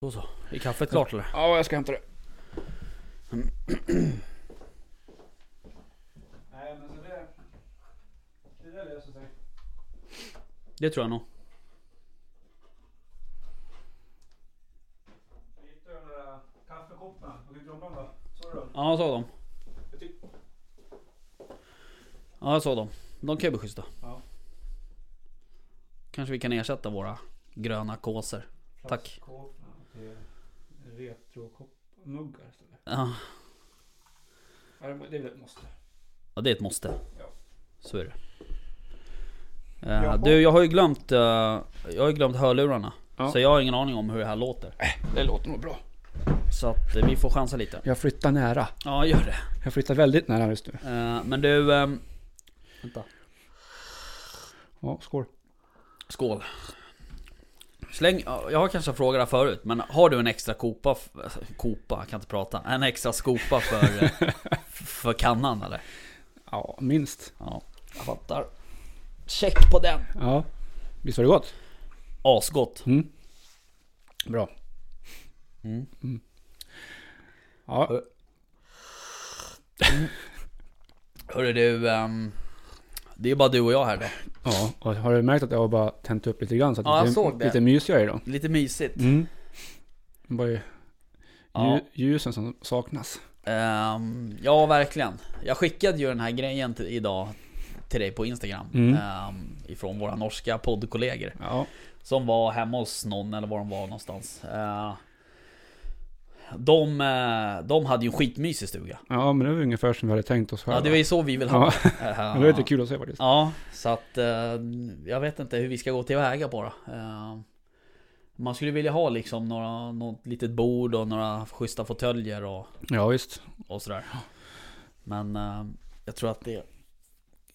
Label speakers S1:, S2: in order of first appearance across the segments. S1: Då så. Är kaffet klart eller?
S2: Ja, jag ska hämta det. Nej, men så det... Det där löser sig.
S1: Det tror jag nog.
S2: Jag hittade den där kaffekoppen. Jag tyckte om den då. Såg du den?
S1: Ja, jag såg dem.
S2: Jag tyck-
S1: Ja, jag såg dem. De kan ju bli schyssta.
S2: Ja.
S1: Kanske vi kan ersätta våra gröna kåser. Tack.
S2: Plastkåporna till retrokoppmuggar istället.
S1: Ja,
S2: Ja, det det är väl ett måste.
S1: ja, det är ett måste.
S2: Ja.
S1: Så är det.
S2: Jaha.
S1: Eh, du, jag har ju glömt, eh, jag har ju glömt hörlurarna.
S2: Ja.
S1: Så jag har ingen aning om hur det här låter.
S2: Det låter nog bra.
S1: Så att eh, vi får chansa lite.
S2: Jag flyttar nära.
S1: Ja, gör det.
S2: Jag flyttar väldigt nära just nu.
S1: Eh, men du... ehm, vänta.
S2: Ja, skål.
S1: Skål. Släng, jag har kanske frågat det här förut, men har du en extra kopa, f- alltså, kopa, jag kan inte prata, en extra skopa för, eh, för kannan eller?
S2: Ja, minst.
S1: Ja, jag fattar. Check på den!
S2: Ja. Visst var det gott?
S1: Asgott.
S2: Mm. Bra.
S1: Mm.
S2: Mm. Ja,
S1: Ö- Hörru du, ehm, det är bara du och jag här då.
S2: ja. Och har du märkt att jag har bara tänt upp lite grann så att
S1: Ja, jag
S2: det är
S1: såg
S2: lite,
S1: det.
S2: lite mysigare idag?
S1: Lite mysigt.
S2: Mm. Det var ju lju-
S1: Ja.
S2: ljusen som saknas.
S1: Ehm, ja, verkligen. Jag skickade ju den här grejen till, idag till dig på Instagram.
S2: Mm.
S1: ehm, ifrån våra norska poddkollegor.
S2: Ja.
S1: Som var hemma hos någon eller var de var någonstans. Eh, De, eh, de hade ju en skitmysig stuga.
S2: ja, men det var ungefär som vi hade tänkt oss själva.
S1: Ja, det var ju så vi vill ha
S2: Ja.
S1: det. Eh,
S2: Men det var lite kul att se faktiskt.
S1: Ja, så att eh, jag vet inte hur vi ska gå tillväga på det. Eh, Man skulle vilja ha liksom några, något litet bord och några schyssta fåtöljer och,
S2: Ja, visst.
S1: och sådär. Men eh, jag tror att det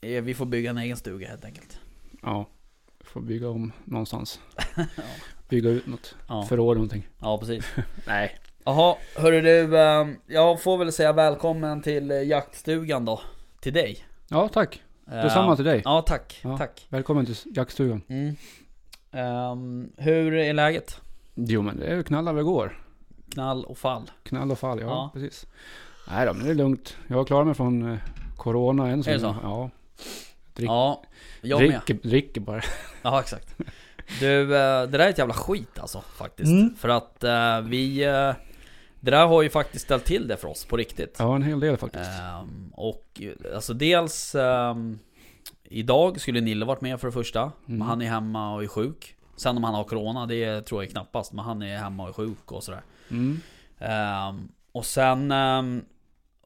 S1: är, vi får bygga en egen stuga helt enkelt.
S2: Ja. Får bygga om någonstans. Bygga ut något.
S1: Ja.
S2: Förråd eller någonting.
S1: Ja, precis.
S2: Nej.
S1: Jaha, hörru du, eh, jag får väl säga välkommen till eh, jaktstugan då. Till dig.
S2: Ja, tack.
S1: Eh,
S2: Detsamma till dig.
S1: Ja, tack.
S2: Ja.
S1: Tack.
S2: Välkommen till jaktstugan.
S1: Mm. Ehm, hur är läget?
S2: Jo, men det är ju knall över går.
S1: Knall och fall.
S2: Knall och fall, ja,
S1: Ja.
S2: precis. Nej då, men det är lugnt. Jag har klarat mig från eh, corona än så
S1: Är det
S2: länge.
S1: så?
S2: Ja. Drick-
S1: Ja, jag med.
S2: dricker, dricker bara.
S1: Ja, exakt. Du, eh, det där är ett jävla skit alltså faktiskt.
S2: Mm.
S1: För att eh, vi... eh, Det där har ju faktiskt ställt till det för oss på riktigt.
S2: Ja, en hel del faktiskt.
S1: Ehm, och eh, alltså dels ehm, Idag skulle Nille varit med för det första Men han är hemma och är sjuk Sen om han har Corona det tror jag knappast Men han är hemma och är sjuk och sådär
S2: Mm.
S1: Ehm, Och sen ehm,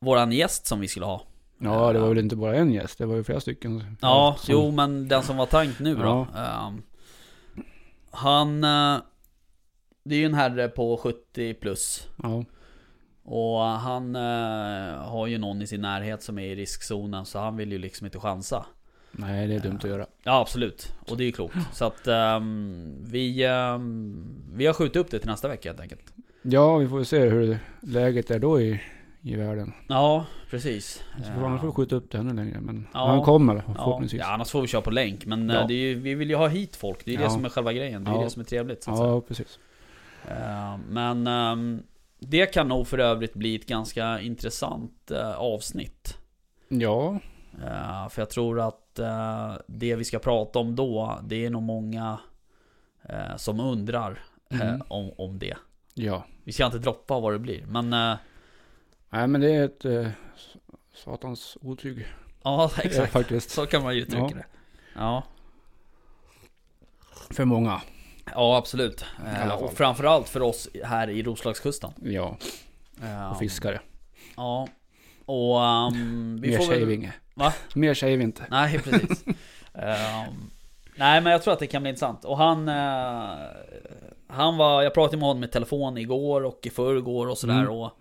S1: Våran gäst som vi skulle ha
S2: Ja, det var väl inte bara en gäst, det var ju flera stycken.
S1: Ja,
S2: som-
S1: jo men den som var tank nu då ehm, Han eh, Det är ju en herre på 70 plus
S2: Ja,
S1: Och han eh, har ju någon i sin närhet som är i riskzonen så han vill ju liksom inte chansa.
S2: nej det är dumt
S1: Äh.
S2: att göra.
S1: Ja absolut, och det är ju klokt. Så att ehm, vi, ehm, vi har skjutit upp det till nästa vecka helt enkelt.
S2: Ja, vi får se hur läget är då i, i världen.
S1: Ja, precis.
S2: Så får annars får vi skjuta upp det ännu längre, men
S1: Äh. Ja.
S2: han kommer
S1: ja,
S2: förhoppningsvis.
S1: ja, annars får vi köra på länk. Men eh,
S2: Ja.
S1: det är ju, vi vill ju ha hit folk, det är ju
S2: Ja.
S1: det som är själva grejen. Det är ju
S2: Ja.
S1: det som är trevligt. Så att säga.
S2: Ja, precis.
S1: Eh, men ehm, det kan nog för övrigt bli ett ganska intressant eh, avsnitt.
S2: Ja,
S1: Eh, för jag tror att eh, det vi ska prata om då, det är nog många eh, som undrar eh,
S2: Mm.
S1: om, om det.
S2: ja.
S1: Vi ska inte droppa vad det blir, men eh,
S2: Nej, men det är ett eh, satans otyg.
S1: ja exakt.
S2: Faktiskt.
S1: Så kan man ju uttrycka
S2: Ja.
S1: det. Ja.
S2: För många.
S1: ja, absolut.
S2: alla
S1: Eh,
S2: fall.
S1: och framförallt för oss här i Roslagskusten.
S2: Ja,
S1: Eh,
S2: och fiskare.
S1: Ja. Och ehm, vi
S2: Mer
S1: får
S2: säger
S1: väl...
S2: vi inget.
S1: Va?
S2: Mer säger vi inte.
S1: Nej, precis. Ehm, nej, men jag tror att det kan bli intressant. Och han... eh, han var... Jag pratade med honom i telefon igår och i förrgår och sådär.
S2: Mm.
S1: Och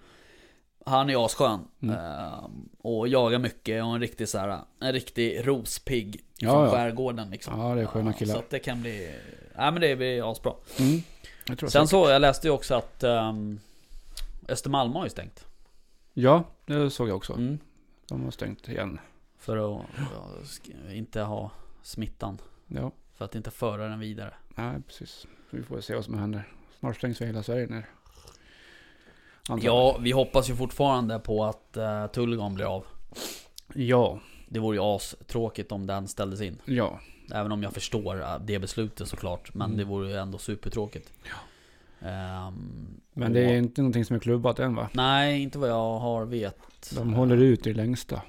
S1: han är asskön.
S2: Mm.
S1: Ehm, och jagar mycket och en riktig så här, En riktig rospigg
S2: Ja,
S1: från
S2: ja.
S1: skärgården liksom.
S2: Ja, det är sköna
S1: Ja, Så
S2: killar.
S1: att det kan bli... Nej, men det blir asbra.
S2: Mm. Jag tror
S1: Sen
S2: Sen...
S1: så, jag läste ju också att... Um, Östermalm har ju stängt.
S2: Ja, det såg jag också.
S1: Mm.
S2: De har stängt igen.
S1: För att ja, sk- inte ha smittan.
S2: Ja.
S1: För att inte föra den vidare.
S2: Nej, precis. Vi får se vad som händer. Snart stängs ju hela Sverige ner. Antagligen.
S1: Ja, vi hoppas ju fortfarande på att uh, Tullgarn blir av.
S2: Ja.
S1: Det vore ju astråkigt om den ställdes in.
S2: Ja.
S1: Även om jag förstår eh, det beslutet såklart. Men
S2: Mm.
S1: det vore ju ändå supertråkigt. Ehm,
S2: Men det är
S1: och-
S2: inte någonting som är klubbat än va?
S1: Nej, inte vad jag har vet.
S2: De håller ut i det längsta.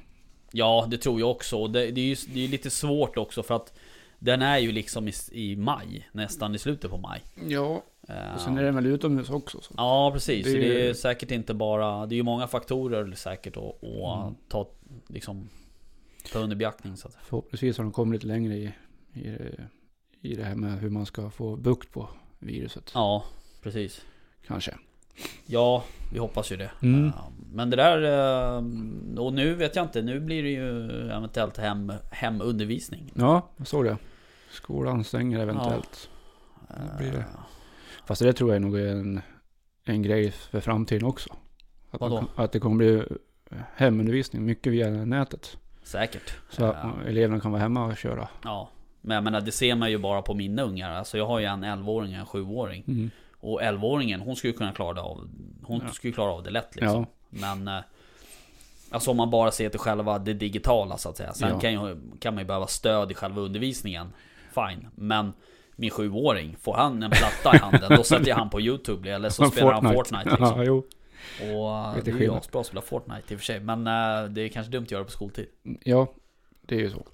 S1: Ja, det tror jag också. Och Det, det är ju det är ju lite svårt också för att den är ju liksom i, i maj, nästan i slutet på maj.
S2: Ja,
S1: Ehm,
S2: och sen är den väl utomhus också. Så.
S1: Ja, precis.
S2: Det
S1: Det
S2: är
S1: är,
S2: ju-
S1: det är säkert inte bara... Det är ju många faktorer säkert att att
S2: Mm.
S1: ta, liksom, ta under beaktning. Så att,
S2: Förhoppningsvis har de kommit lite längre i, i, det- i det här med hur man ska få bukt på viruset.
S1: ja, precis.
S2: Kanske.
S1: Ja, vi hoppas ju det.
S2: Mm.
S1: Eh, Men det där... eh, Och nu vet jag inte. Nu blir det ju eventuellt hem, hemundervisning.
S2: Ja, jag såg det. Skolan stänger eventuellt. Det blir det.
S1: Eh,
S2: Fast det tror jag nog är en, en grej för framtiden också. Att, man
S1: Vadå?
S2: kom- att det kommer bli eh, hemundervisning mycket via nätet.
S1: Säkert.
S2: Så
S1: Eh,
S2: att man- eleverna kan vara hemma och köra.
S1: Ja. Men jag menar, det ser man ju bara på mina ungar. Alltså jag har ju en 11-åring och en 7-åring.
S2: Mm.
S1: Och 11-åringen, hon skulle ju kunna klara det av... Hon
S2: Ja.
S1: skulle klara av det lätt liksom.
S2: Ja,
S1: Men eh, Alltså om man bara ser till själva det digitala så att säga. Sen
S2: Ja.
S1: kan, ju, kan man ju behöva stöd i själva undervisningen. Fine. Men min sjuåring, får han en platta i handen då sätter jag han på YouTube eller så spelar han Fortnite liksom.
S2: Ja, jo.
S1: Och eh,
S2: Lite
S1: det är ju
S2: skillnad.
S1: asbra att spela Fortnite i och för sig. Men eh, det är kanske dumt att göra det på skoltid.
S2: ja, det är ju så.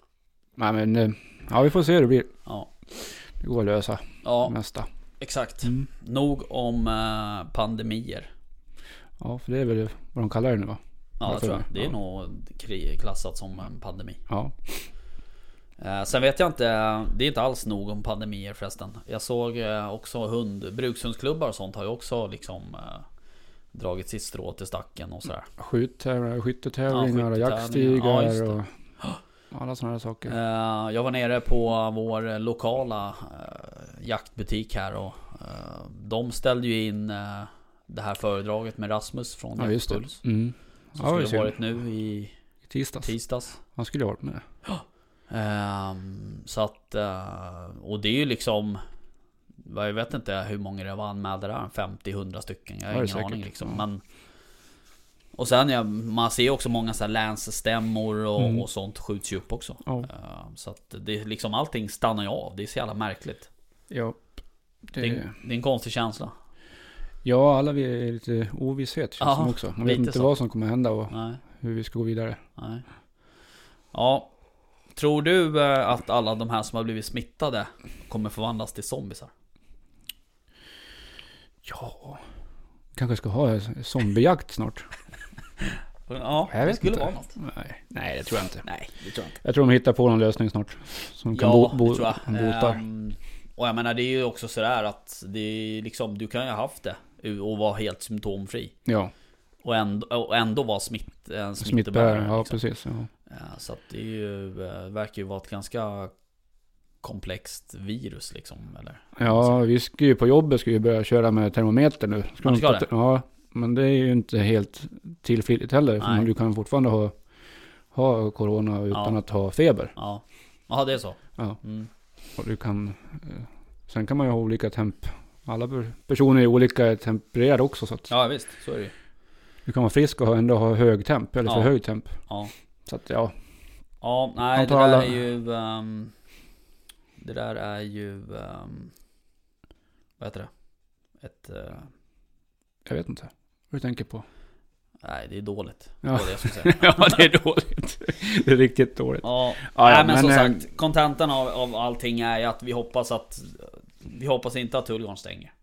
S2: Nej men, eh, ja vi får se hur det blir.
S1: Ja,
S2: Det går att lösa det
S1: ja
S2: mesta.
S1: exakt.
S2: Mm.
S1: Nog om eh, pandemier.
S2: Ja, för det är väl vad de kallar det nu va?
S1: Ja,
S2: Jag
S1: jag tror
S2: tror
S1: jag.
S2: det.
S1: Det är
S2: Ja.
S1: nog kri- klassat som en pandemi.
S2: Ja.
S1: Eh, Sen vet jag inte, det är inte alls nog om pandemier förresten. Jag såg eh, också hund, brukshundsklubbar och sånt har ju också liksom eh, dragit sitt strå till stacken och
S2: Mm,
S1: sådär.
S2: Skjuttävlingar, skyttetävlingar,
S1: Ja,
S2: och
S1: skyttetävlingar. Ja,
S2: jaktstigar
S1: just det.
S2: och alla sådana här saker.
S1: Eh, Jag var nere på vår eh, lokala eh, jaktbutik här och eh, de ställde ju in eh, det här föredraget med Rasmus från
S2: ja, just det.
S1: Jaktpuls.
S2: Mm.
S1: Som
S2: Ja, det är
S1: skulle
S2: synd.
S1: varit nu i
S2: I tisdags.
S1: tisdags.
S2: Han skulle ha varit med.
S1: Ehm, så att, eh, och det är ju liksom Jag vet inte hur många det var anmälda där, 50-100 stycken, jag har
S2: Ja, det är
S1: ingen
S2: säkert.
S1: aning liksom.
S2: Ja.
S1: Men, och sen, ja, man ser ju också många så här länsstämmor och,
S2: Mm.
S1: och sånt skjuts ju upp också.
S2: Ja.
S1: Ehm, så att det är liksom allting stannar ju av, det är så jävla märkligt.
S2: Ja.
S1: Det, är, en- det är en konstig känsla.
S2: ja, alla vi är lite ovisshet känns
S1: Ja,
S2: som också. Man vet
S1: lite
S2: inte
S1: så.
S2: vad som kommer hända och
S1: Nej,
S2: hur vi ska gå vidare.
S1: nej. Ja, tror du eh, att alla de här som har blivit smittade kommer förvandlas till zombisar?
S2: Ja. Kanske ska ha en zombiejakt snart.
S1: Ja,
S2: Jag
S1: det
S2: vet
S1: skulle
S2: inte.
S1: vara något.
S2: Nej. Nej, det tror jag inte.
S1: Nej, det tror jag inte.
S2: Jag tror de hittar på någon lösning snart. Som kan bo, bo,
S1: det tror
S2: kan
S1: jag.
S2: botar.
S1: Ehm, och jag menar det är ju också sådär att det är liksom, du kan ju ha haft det och vara helt symptomfri.
S2: ja,
S1: Och ändå, och ändå vara smitt, en
S2: smittbärare.
S1: smittbärare.
S2: Ja,
S1: liksom.
S2: precis. Ja.
S1: Ja, Så att det är ju, eh, verkar ju vara ett ganska komplext virus liksom. Eller?
S2: Ja, vi ska ju på jobbet ska vi börja köra med termometer nu.
S1: Ja, ni ska
S2: de ta- Ja, men det är ju inte helt tillfälligt heller. För
S1: Nej.
S2: man- du kan fortfarande ha, ha corona utan
S1: Ja.
S2: att ha feber.
S1: Ja, Jaha, det är så.
S2: Ja.
S1: Mm.
S2: Och du kan, eh, sen kan man ju ha olika temp. Alla per- personer är olika tempererade också. Så att
S1: Ja visst, så är det ju.
S2: du kan vara frisk och ha- ändå ha hög temp. Eller för
S1: Ja.
S2: hög temp.
S1: Ja.
S2: Så att ja,
S1: Ja, nej det
S2: Antar
S1: där
S2: alla-
S1: är ju... ehm, det där är ju... ehm, vad heter det? Ett... eh,
S2: jag vet inte. Vad du tänker på.
S1: nej, det är dåligt.
S2: Ja.
S1: Det var det jag skulle säga.
S2: ja, det är dåligt. det är riktigt dåligt.
S1: Ja,
S2: Ja, ja,
S1: nej, men, som
S2: men, eh,
S1: sagt, kontentan av, av allting är ju att vi hoppas att... Vi hoppas inte att Tullgarn stänger.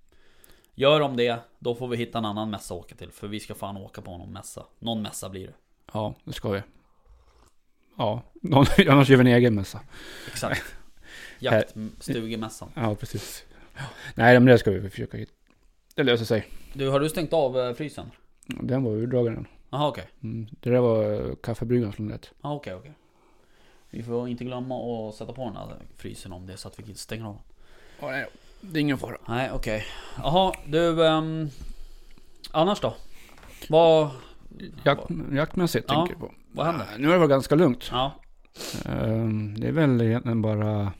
S1: Gör de det, då får vi hitta en annan mässa att åka till. För vi ska fan åka på någon mässa. Någon mässa blir det.
S2: Ja, det ska vi. Ja, någon- annars gör vi en egen mässa.
S1: Exakt. Jaktstugemässan.
S2: Ja, precis. Nej, men det ska vi försöka hitta. Det löser sig.
S1: Du, har du stängt av eh, frysen?
S2: Den var urdragen. den.
S1: Jaha, okej.
S2: Mm. Det där var eh, kaffebryggaren som lät.
S1: Ja, okej, okej. Vi får inte glömma att sätta på den här frysen om det är så att vi inte stänger av den.
S2: Oh, nej, det är ingen fara.
S1: Nej, okej. Jaha, du... ehm, annars då? Vad,
S2: Jakt, jaktmässigt
S1: Ja,
S2: tänker jag på.
S1: vad händer?
S2: Ja, Nu har det varit ganska lugnt.
S1: Ja,
S2: Ehm, Det är väl egentligen bara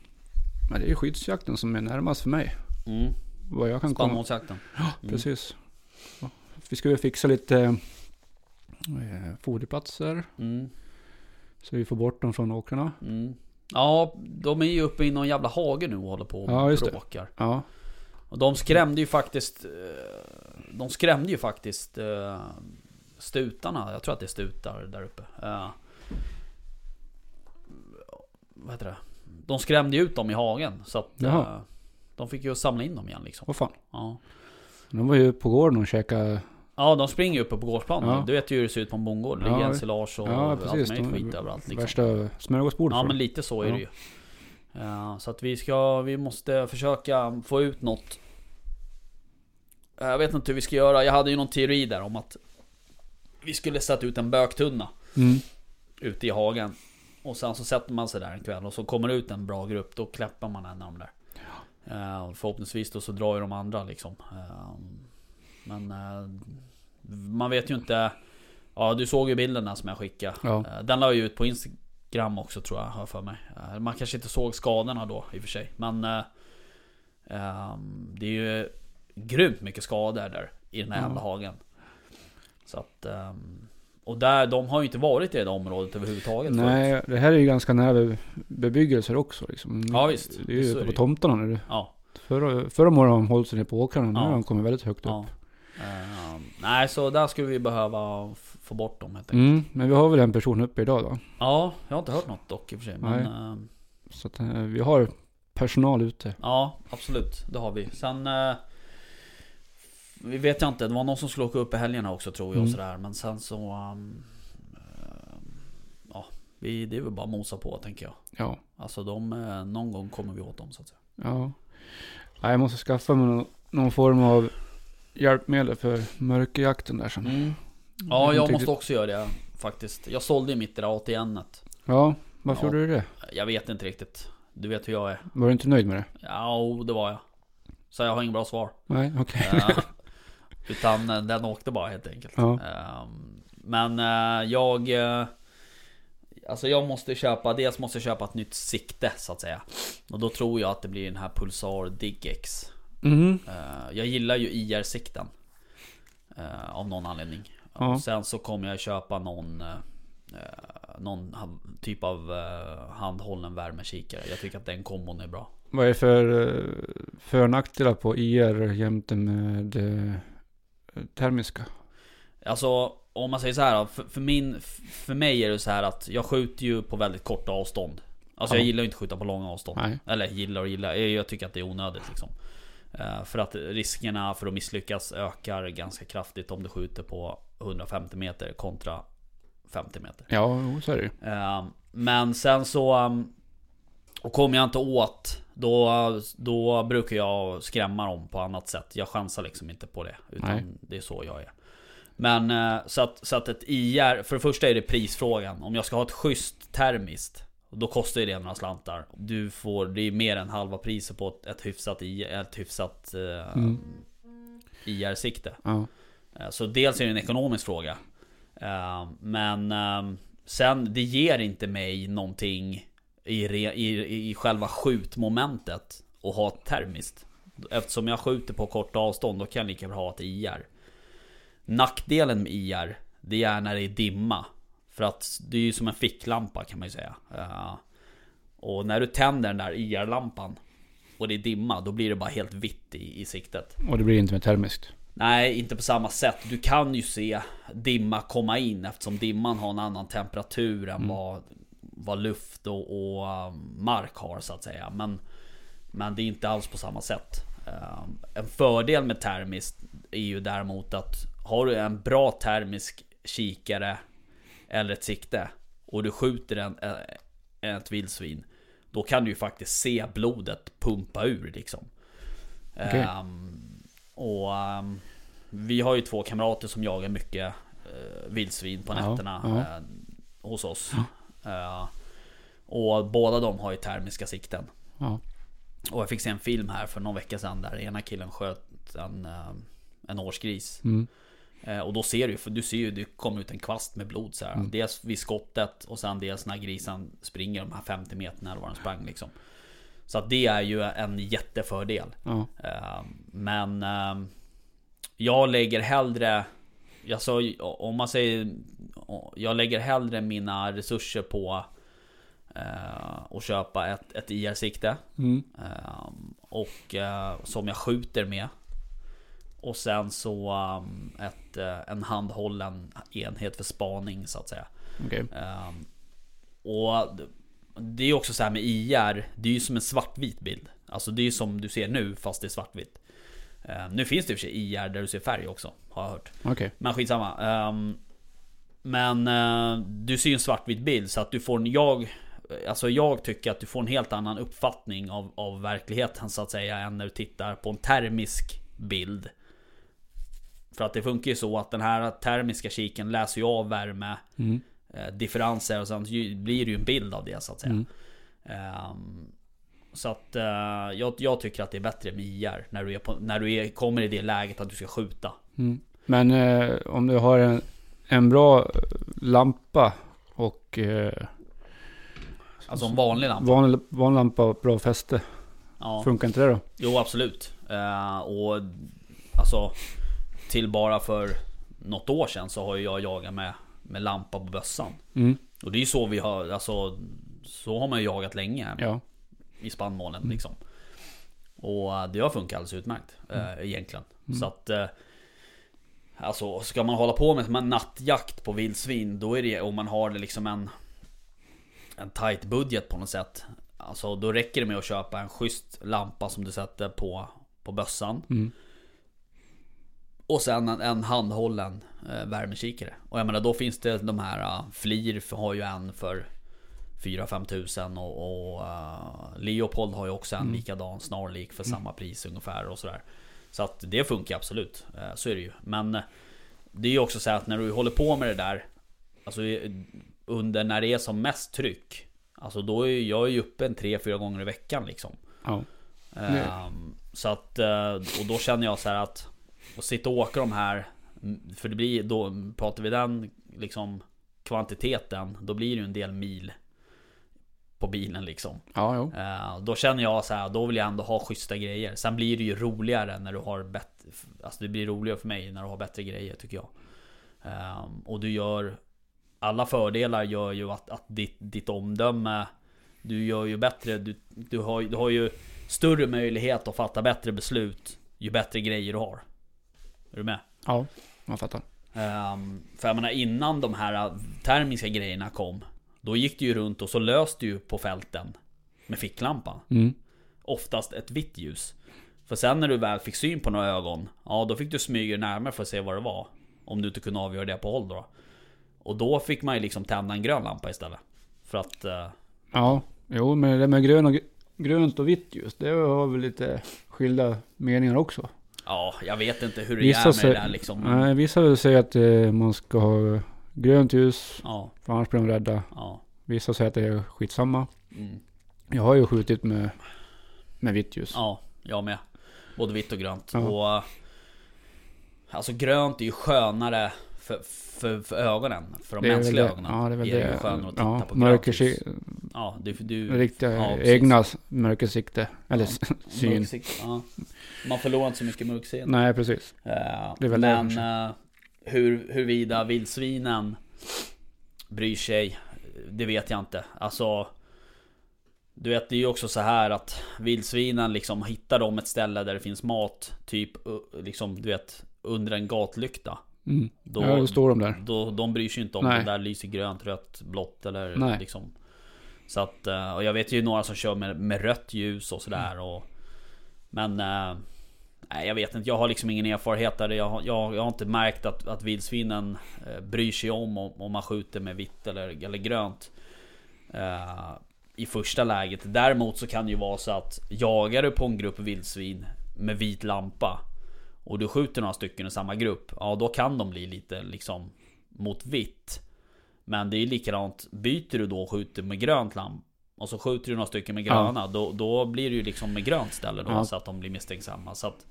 S2: Men det är ju skyddsjakten som är närmast för mig.
S1: Mm.
S2: Vad jag kan komma.
S1: Spannmålsjakten. Mm.
S2: Precis. Ja. Vi skulle fixa lite eh, foderplatser.
S1: Mm.
S2: Så vi får bort dem från åkrarna.
S1: Mm. Ja, de är ju uppe i någon jävla hage nu och håller på och
S2: Ja, just det.
S1: bråkar.
S2: Ja,
S1: Och de skrämde ju faktiskt eh, De skrämde ju faktiskt eh, Stutarna, jag tror att det är stutar där uppe Eh, Vad heter det? De skrämde ju ut dem i hagen så att eh,
S2: Jaha.
S1: De fick ju samla in dem igen liksom
S2: vad fan.
S1: Ja,
S2: De var ju på gården och käkade.
S1: ja de springer ju uppe på gårdsplanen
S2: Ja.
S1: Du vet ju hur det ser ut på en bondgård, det ligger
S2: Ja,
S1: ensilage och
S2: ja,
S1: allt
S2: precis.
S1: möjligt
S2: De-
S1: skit överallt liksom.
S2: Värsta smörgåsbordet.
S1: Ja
S2: för
S1: men
S2: dem.
S1: lite så är
S2: Ja.
S1: det ju. Eh, Så att vi ska, vi måste försöka få ut något. Eh, Jag vet inte hur vi ska göra, jag hade ju någon teori där om att vi skulle sätta ut en böktunna
S2: mm.
S1: ute i hagen. Och sen så sätter man sig där en kväll och så kommer det ut en bra grupp, då klappar man en av dem där. Eh, och Förhoppningsvis då så drar ju de andra liksom. Eh, Men eh, man vet ju inte. Ja du såg ju bilden där som jag skickade.
S2: Ja.
S1: Eh, Den la jag ju ut på Instagram också tror jag, har jag för mig. Eh, Man kanske inte såg skadorna då i och för sig. Men eh, ehm, det är ju grymt mycket skador där i den här
S2: Ja.
S1: jävla hagen. Så att... ehm, och där, de har ju inte varit i det området överhuvudtaget förut.
S2: Nej, det här är ju ganska nära be- bebyggelser också. Liksom.
S1: Ja, visst.
S2: Det är ju
S1: Så är
S2: uppe
S1: det
S2: på
S1: ju.
S2: tomtarna nu.
S1: Ja,
S2: Förra, förra morgonen har de hållit sig ner på åkrarna. Nu
S1: Ja.
S2: har de kommit väldigt högt upp.
S1: ja. Ehm, nej, så där skulle vi behöva f- få bort dem helt enkelt.
S2: Mm, men vi har väl en person uppe idag då.
S1: Ja, jag har inte hört något dock i och för sig. Men,
S2: Nej.
S1: ehm,
S2: Så att, eh, vi har personal ute.
S1: Ja, absolut. Det har vi. Sen... Eh, vi vet jag inte. Det var någon som skulle åka upp i helgerna också tror jag. och
S2: Mm.
S1: Sådär. Men sen så... ehm, eh, ja, vi, det är väl bara att mosa på tänker jag.
S2: Ja.
S1: Alltså de, eh, någon gång kommer vi åt dem så att säga.
S2: ja. Ja, Jag måste skaffa mig någon, någon form av hjälpmedel för mörkerjakten där sen.
S1: Ja,
S2: Jag
S1: jag
S2: tycker-
S1: måste också göra det faktiskt. Jag sålde ju mitt det där atn -et.
S2: Ja, varför
S1: Ja.
S2: gjorde du det?
S1: Jag vet inte riktigt. Du vet hur jag är.
S2: Var du inte nöjd med det?
S1: Ja, o, det var jag. Så jag har inget bra svar.
S2: Nej, okej.
S1: Eh, Utan eh, den åkte bara helt enkelt.
S2: Ja.
S1: Ehm, Men eh, jag... eh, Alltså jag måste köpa, dels måste jag köpa ett nytt sikte så att säga. Och då tror jag att det blir den här Pulsar DigX.
S2: Mhm.
S1: Eh, Jag gillar ju IR-sikten. eh, Av någon anledning.
S2: Ja.
S1: Och sen så kommer jag köpa någon... eh, eh, Någon ha- typ av eh, handhållen värmekikare. Jag tycker att den kombon är bra.
S2: Vad är det för eh, för och nackdelar på IR jämte med eh, termiska?
S1: Alltså om man säger så här då, för, för, min, f- för mig är det så här att jag skjuter ju på väldigt korta avstånd. Alltså jag
S2: Ja.
S1: gillar ju inte att skjuta på långa avstånd.
S2: Nej.
S1: Eller gillar och gillar, jag, jag tycker att det är onödigt liksom. Eh, För att riskerna för att misslyckas ökar ganska kraftigt om du skjuter på 150 meter kontra 50 meter.
S2: Ja, jo, så är det ju.
S1: Eh, Men sen så... ehm, Och kommer jag inte åt då, då brukar jag skrämma dem på annat sätt. Jag chansar liksom inte på det. Utan
S2: Nej.
S1: det är så jag är. Men eh, så att, så att ett IR, för det första är det prisfrågan. Om jag ska ha ett schysst termiskt, då kostar ju det några slantar. Du får, det är mer än halva priset på ett, ett hyfsat, I- ett hyfsat eh, IR-sikte.
S2: Ja.
S1: Eh, Så dels är det en ekonomisk fråga. Eh, Men eh, sen, det ger inte mig någonting i, re, i, i själva skjutmomentet att ha ett termiskt. Eftersom jag skjuter på korta avstånd, då kan jag lika bra ha ett IR. Nackdelen med IR, det är när det är dimma. För att det är ju som en ficklampa kan man ju säga. Eh, Och när du tänder den där IR-lampan och det är dimma, då blir det bara helt vitt i, i siktet.
S2: Och det blir inte med termiskt.
S1: Nej, inte på samma sätt. Du kan ju se dimma komma in eftersom dimman har en annan temperatur än vad, vad luft och, och eh, mark har så att säga. Men, men det är inte alls på samma sätt. Eh, En fördel med termiskt är ju däremot att har du en bra termisk kikare eller ett sikte och du skjuter en, eh, ett vildsvin då kan du ju faktiskt se blodet pumpa ur liksom.
S2: Okej.
S1: Ehm, och ehm, vi har ju två kamrater som jagar mycket eh, vildsvin på
S2: Ja,
S1: nätterna
S2: ja.
S1: eh, hos oss. Eh, och båda de har ju termiska sikten.
S2: Ja.
S1: Och jag fick se en film här för någon vecka sedan där ena killen sköt en, eh, en årsgris.
S2: Mm.
S1: Eh, Och då ser du, för du ser ju, det kommer ut en kvast med blod så här.
S2: Mm.
S1: Dels vid skottet och sen dels när grisen springer de här 50 meterna eller var den sprang liksom. Så att det är ju en jättefördel.
S2: Ja.
S1: Eh, Men eh, jag lägger hellre jag sa, ju- om man säger Jag lägger hellre mina resurser på eh, att köpa ett, ett IR-sikte
S2: Mm.
S1: eh, Och eh, som jag skjuter med Och sen så eh, ett, eh, en handhållen enhet för spaning så att säga
S2: Okej.
S1: Ehm, och d- det är ju också så här med IR, det är ju som en svartvit bild. Alltså det är ju som du ser nu fast det är svartvitt. Ehm, nu finns det i och för sig IR där du ser färg också, har jag hört.
S2: Okej.
S1: Men skitsamma. Ehm, men eh, du ser ju en svartvit bild så att du får en, jag, alltså jag tycker att du får en helt annan uppfattning av, av verkligheten så att säga än när du tittar på en termisk bild. För att det funkar ju så att den här termiska kiken läser ju av värme
S2: Mm.
S1: eh, differenser och sen ju- blir det ju en bild av det så att säga.
S2: Mm.
S1: Ehm, så att eh, jag, jag tycker att det är bättre med IR när du, är på, när du är, kommer i det läget att du ska skjuta.
S2: Mm. Men eh, om du har en, en bra lampa och eh,
S1: Alltså en vanlig lampa.
S2: vanlig, vanlig lampa och bra fäste.
S1: Ja,
S2: Funkar inte det då?
S1: jo absolut. Eh, och alltså till bara för något år sedan så har ju jag jagat med, med lampa på bössan.
S2: Mm.
S1: Och det är ju så vi har, alltså så har man ju jagat länge.
S2: Ja.
S1: i spannmålen liksom. Och eh, det har funkat alldeles utmärkt eh, egentligen. Så att eh, Alltså ska man hålla på med med nattjakt på vildsvin då är det om man har liksom en En tight budget på något sätt Alltså då räcker det med att köpa en schysst lampa som du sätter på På bössan
S2: Mm.
S1: Och sen en, en handhållen eh, värmekikare Och jag menar då finns det de här eh, FLIR har ju en för 4-5 tusen och, och eh, Leopold har ju också en likadan snarlik för samma pris ungefär och sådär. Så att det funkar absolut, eh, så är det ju. Men eh, det är ju också så här att när du håller på med det där Alltså eh, under när det är som mest tryck Alltså då är ju- jag är ju uppe en 3-4 gånger i veckan liksom.
S2: Ja.
S1: Ehm, så att, eh, och då känner jag så här att Att sitta och åka de här mm, För det blir, då pratar vi den liksom Kvantiteten, då blir det ju en del mil På bilen liksom
S2: Ja, jo.
S1: Eh, Då känner jag så här, då vill jag ändå ha schyssta grejer Sen blir det ju roligare när du har bättre Alltså det blir roligare för mig när du har bättre grejer tycker jag Ehm, Och du gör Alla fördelar gör ju att, att ditt, ditt omdöme Du gör ju bättre, du, du, har, du har ju Större möjlighet att fatta bättre beslut Ju bättre grejer du har Är du med?
S2: Ja, man fattar.
S1: Ehm, för jag menar innan de här termiska grejerna kom Då gick du ju runt och så löste du på fälten Med ficklampan
S2: Mm.
S1: oftast ett vitt ljus. För sen när du väl fick syn på några ögon, ja då fick du smyga dig närmare för att se vad det var. Om du inte kunde avgöra det på håll då. Och då fick man ju liksom tända en grön lampa istället. För att... eh,
S2: Ja, jo, men det där med grön och, gr- grönt och vitt just, det har väl lite skilda meningar också.
S1: Ja, jag vet inte hur det
S2: Vissa
S1: är med
S2: säger-
S1: det där liksom. men-
S2: Nej, vissa vill säga att eh, man ska ha grönt ljus,
S1: Ja,
S2: för annars blir de rädda.
S1: ja.
S2: Vissa säger att det är skitsamma.
S1: Mm.
S2: Jag har ju skjutit med, med vitt ljus.
S1: Ja, jag med. Både vitt och grönt.
S2: Ja.
S1: Och, eh, alltså grönt är ju skönare för, för, för ögonen. För de
S2: Det är väl
S1: mänskliga
S2: det-
S1: ögonen.
S2: Ja, det är väl
S1: ju
S2: det.
S1: skönare att titta
S2: Ja,
S1: på grönt ljus.
S2: mörkersi-
S1: Ja, du, du,
S2: riktiga
S1: Ja, precis.
S2: egna s- mörkersikte. Eller s- syn.
S1: Mörksikte, ja. Man förlorar inte så mycket mörkseende.
S2: Nej, precis.
S1: Eh,
S2: Det är väl det
S1: men
S2: kanske.
S1: eh, hur, huruvida vildsvinen bryr sig, det vet jag inte. Alltså, du vet det är ju också så här att vildsvinen liksom hittar de ett ställe där det finns mat, typ u- liksom du vet under en gatlykta.
S2: Mm.
S1: Då,
S2: ja, då står de där.
S1: då, de bryr sig inte om
S2: Nej.
S1: det där lyser grönt, rött, blått eller
S2: Nej.
S1: liksom Så att, eh, och jag vet ju några som kör med, med rött ljus och sådär
S2: Mm.
S1: och Men eh, Nej jag vet inte, jag har liksom ingen erfarenhet där Jag, har- jag, jag har inte märkt att, att vildsvinen eh, Bryr sig om, om om man skjuter med vitt eller, eller grönt eh, I första läget Däremot så kan det ju vara så att Jagar du på en grupp vildsvin Med vit lampa och du skjuter några stycken i samma grupp, ja då kan de bli lite liksom mot vitt. Men det är likadant, byter du då och skjuter med grönt lamp och så skjuter du några stycken med gröna, då, då blir det ju liksom med grönt ställe då
S2: Ja.
S1: så att de blir misstänksamma. Så att,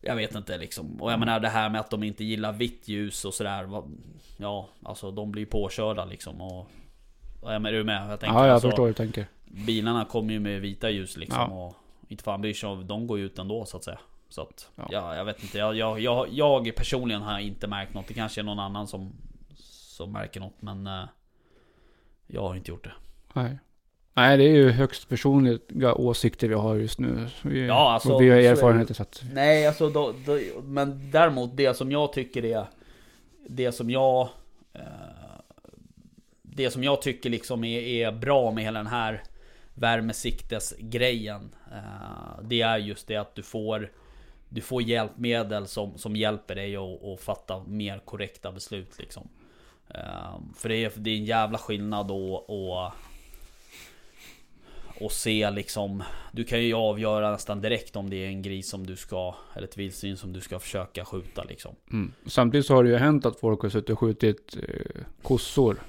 S1: jag vet inte liksom. Och jag menar det här med att de inte gillar vitt ljus och sådär. vad- Ja, alltså de blir påkörda liksom. Och, och jag menar, är du med? Jag tänker,
S2: Ja, jag
S1: alltså,
S2: förstår hur du tänker.
S1: bilarna kommer ju med vita ljus liksom.
S2: Ja.
S1: Och inte fan bryr sig om, de går ju ut ändå så att säga. Så att,
S2: Ja.
S1: ja. jag vet inte. Jag, jag, jag, jag personligen har inte märkt något. Det kanske är någon annan som, som märker något. Men eh, jag har inte gjort det.
S2: Nej. Nej, det är ju högst personliga åsikter vi har just nu. Vi,
S1: Ja, alltså,
S2: och vi har
S1: så är det.
S2: erfarenheter så att...
S1: Nej, alltså då, då, men däremot det som jag tycker är Det som jag eh, Det som jag tycker liksom är, är bra med hela den här Värmesiktes-grejen eh, Det är just det att du får Du får hjälpmedel som, som hjälper dig att, att fatta mer korrekta beslut liksom Eh, För det är, det är en jävla skillnad att, att och se liksom Du kan ju avgöra nästan direkt om det är en gris som du ska Eller ett vildsvin som du ska försöka skjuta liksom
S2: Mm. Samtidigt så har det ju hänt att folk har suttit och skjutit eh, kossor,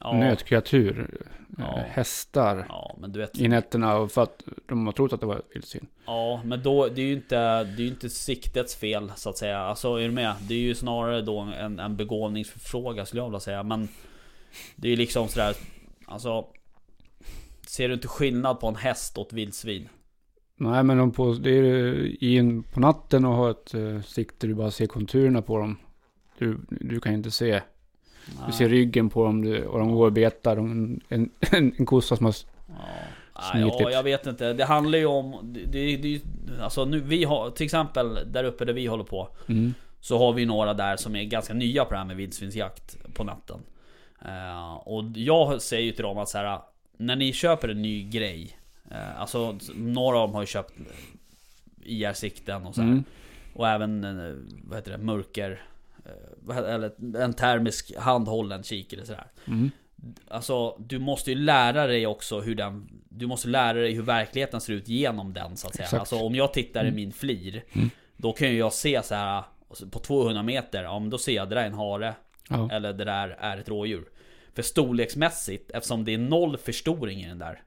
S1: ja,
S2: nötkreatur,
S1: Ja.
S2: eh, hästar
S1: ja men du vet
S2: i nätterna och för att de har trott att det var ett vildsvin.
S1: Ja men då det är ju inte Det är ju inte siktets fel så att säga Alltså är du med? Det är ju snarare då en, en begåvningsfråga skulle jag vilja säga men Det är ju liksom sådär Alltså Ser du inte skillnad på en häst och ett vildsvin?
S2: Nej, men de på, det är ju in på natten och har ett eh, sikte du bara ser konturerna på dem. Du, du kan inte se. Du
S1: Nej.
S2: ser ryggen på dem du, och de går och betar. De, en, en, en kossa som har...
S1: Ja, Nej,
S2: Smidigt.
S1: ja, jag vet inte. Det handlar ju om... Det, det, det, alltså nu, vi har till exempel där uppe där vi håller på.
S2: Mm.
S1: Så har vi några där som är ganska nya på det här med vildsvinsjakt på natten. Eh, och jag säger ju till dem att så här, när ni köper en ny grej. Eh, alltså några av dem har ju köpt IR-sikten och så här.
S2: Mm.
S1: Och även, eh, vad heter det, mörker... eh, vad he- Eller en termisk handhållen kikare sådär.
S2: Mm.
S1: Alltså du måste ju lära dig också hur den Du måste lära dig hur verkligheten ser ut genom den så att säga
S2: Exakt. Mm.
S1: Alltså om jag tittar i min flir Då kan ju jag se så här alltså, På 200 meter, ja men då ser jag det där är en hare
S2: Ja.
S1: Eller det där är ett rådjur För storleksmässigt, eftersom det är noll förstoring i den där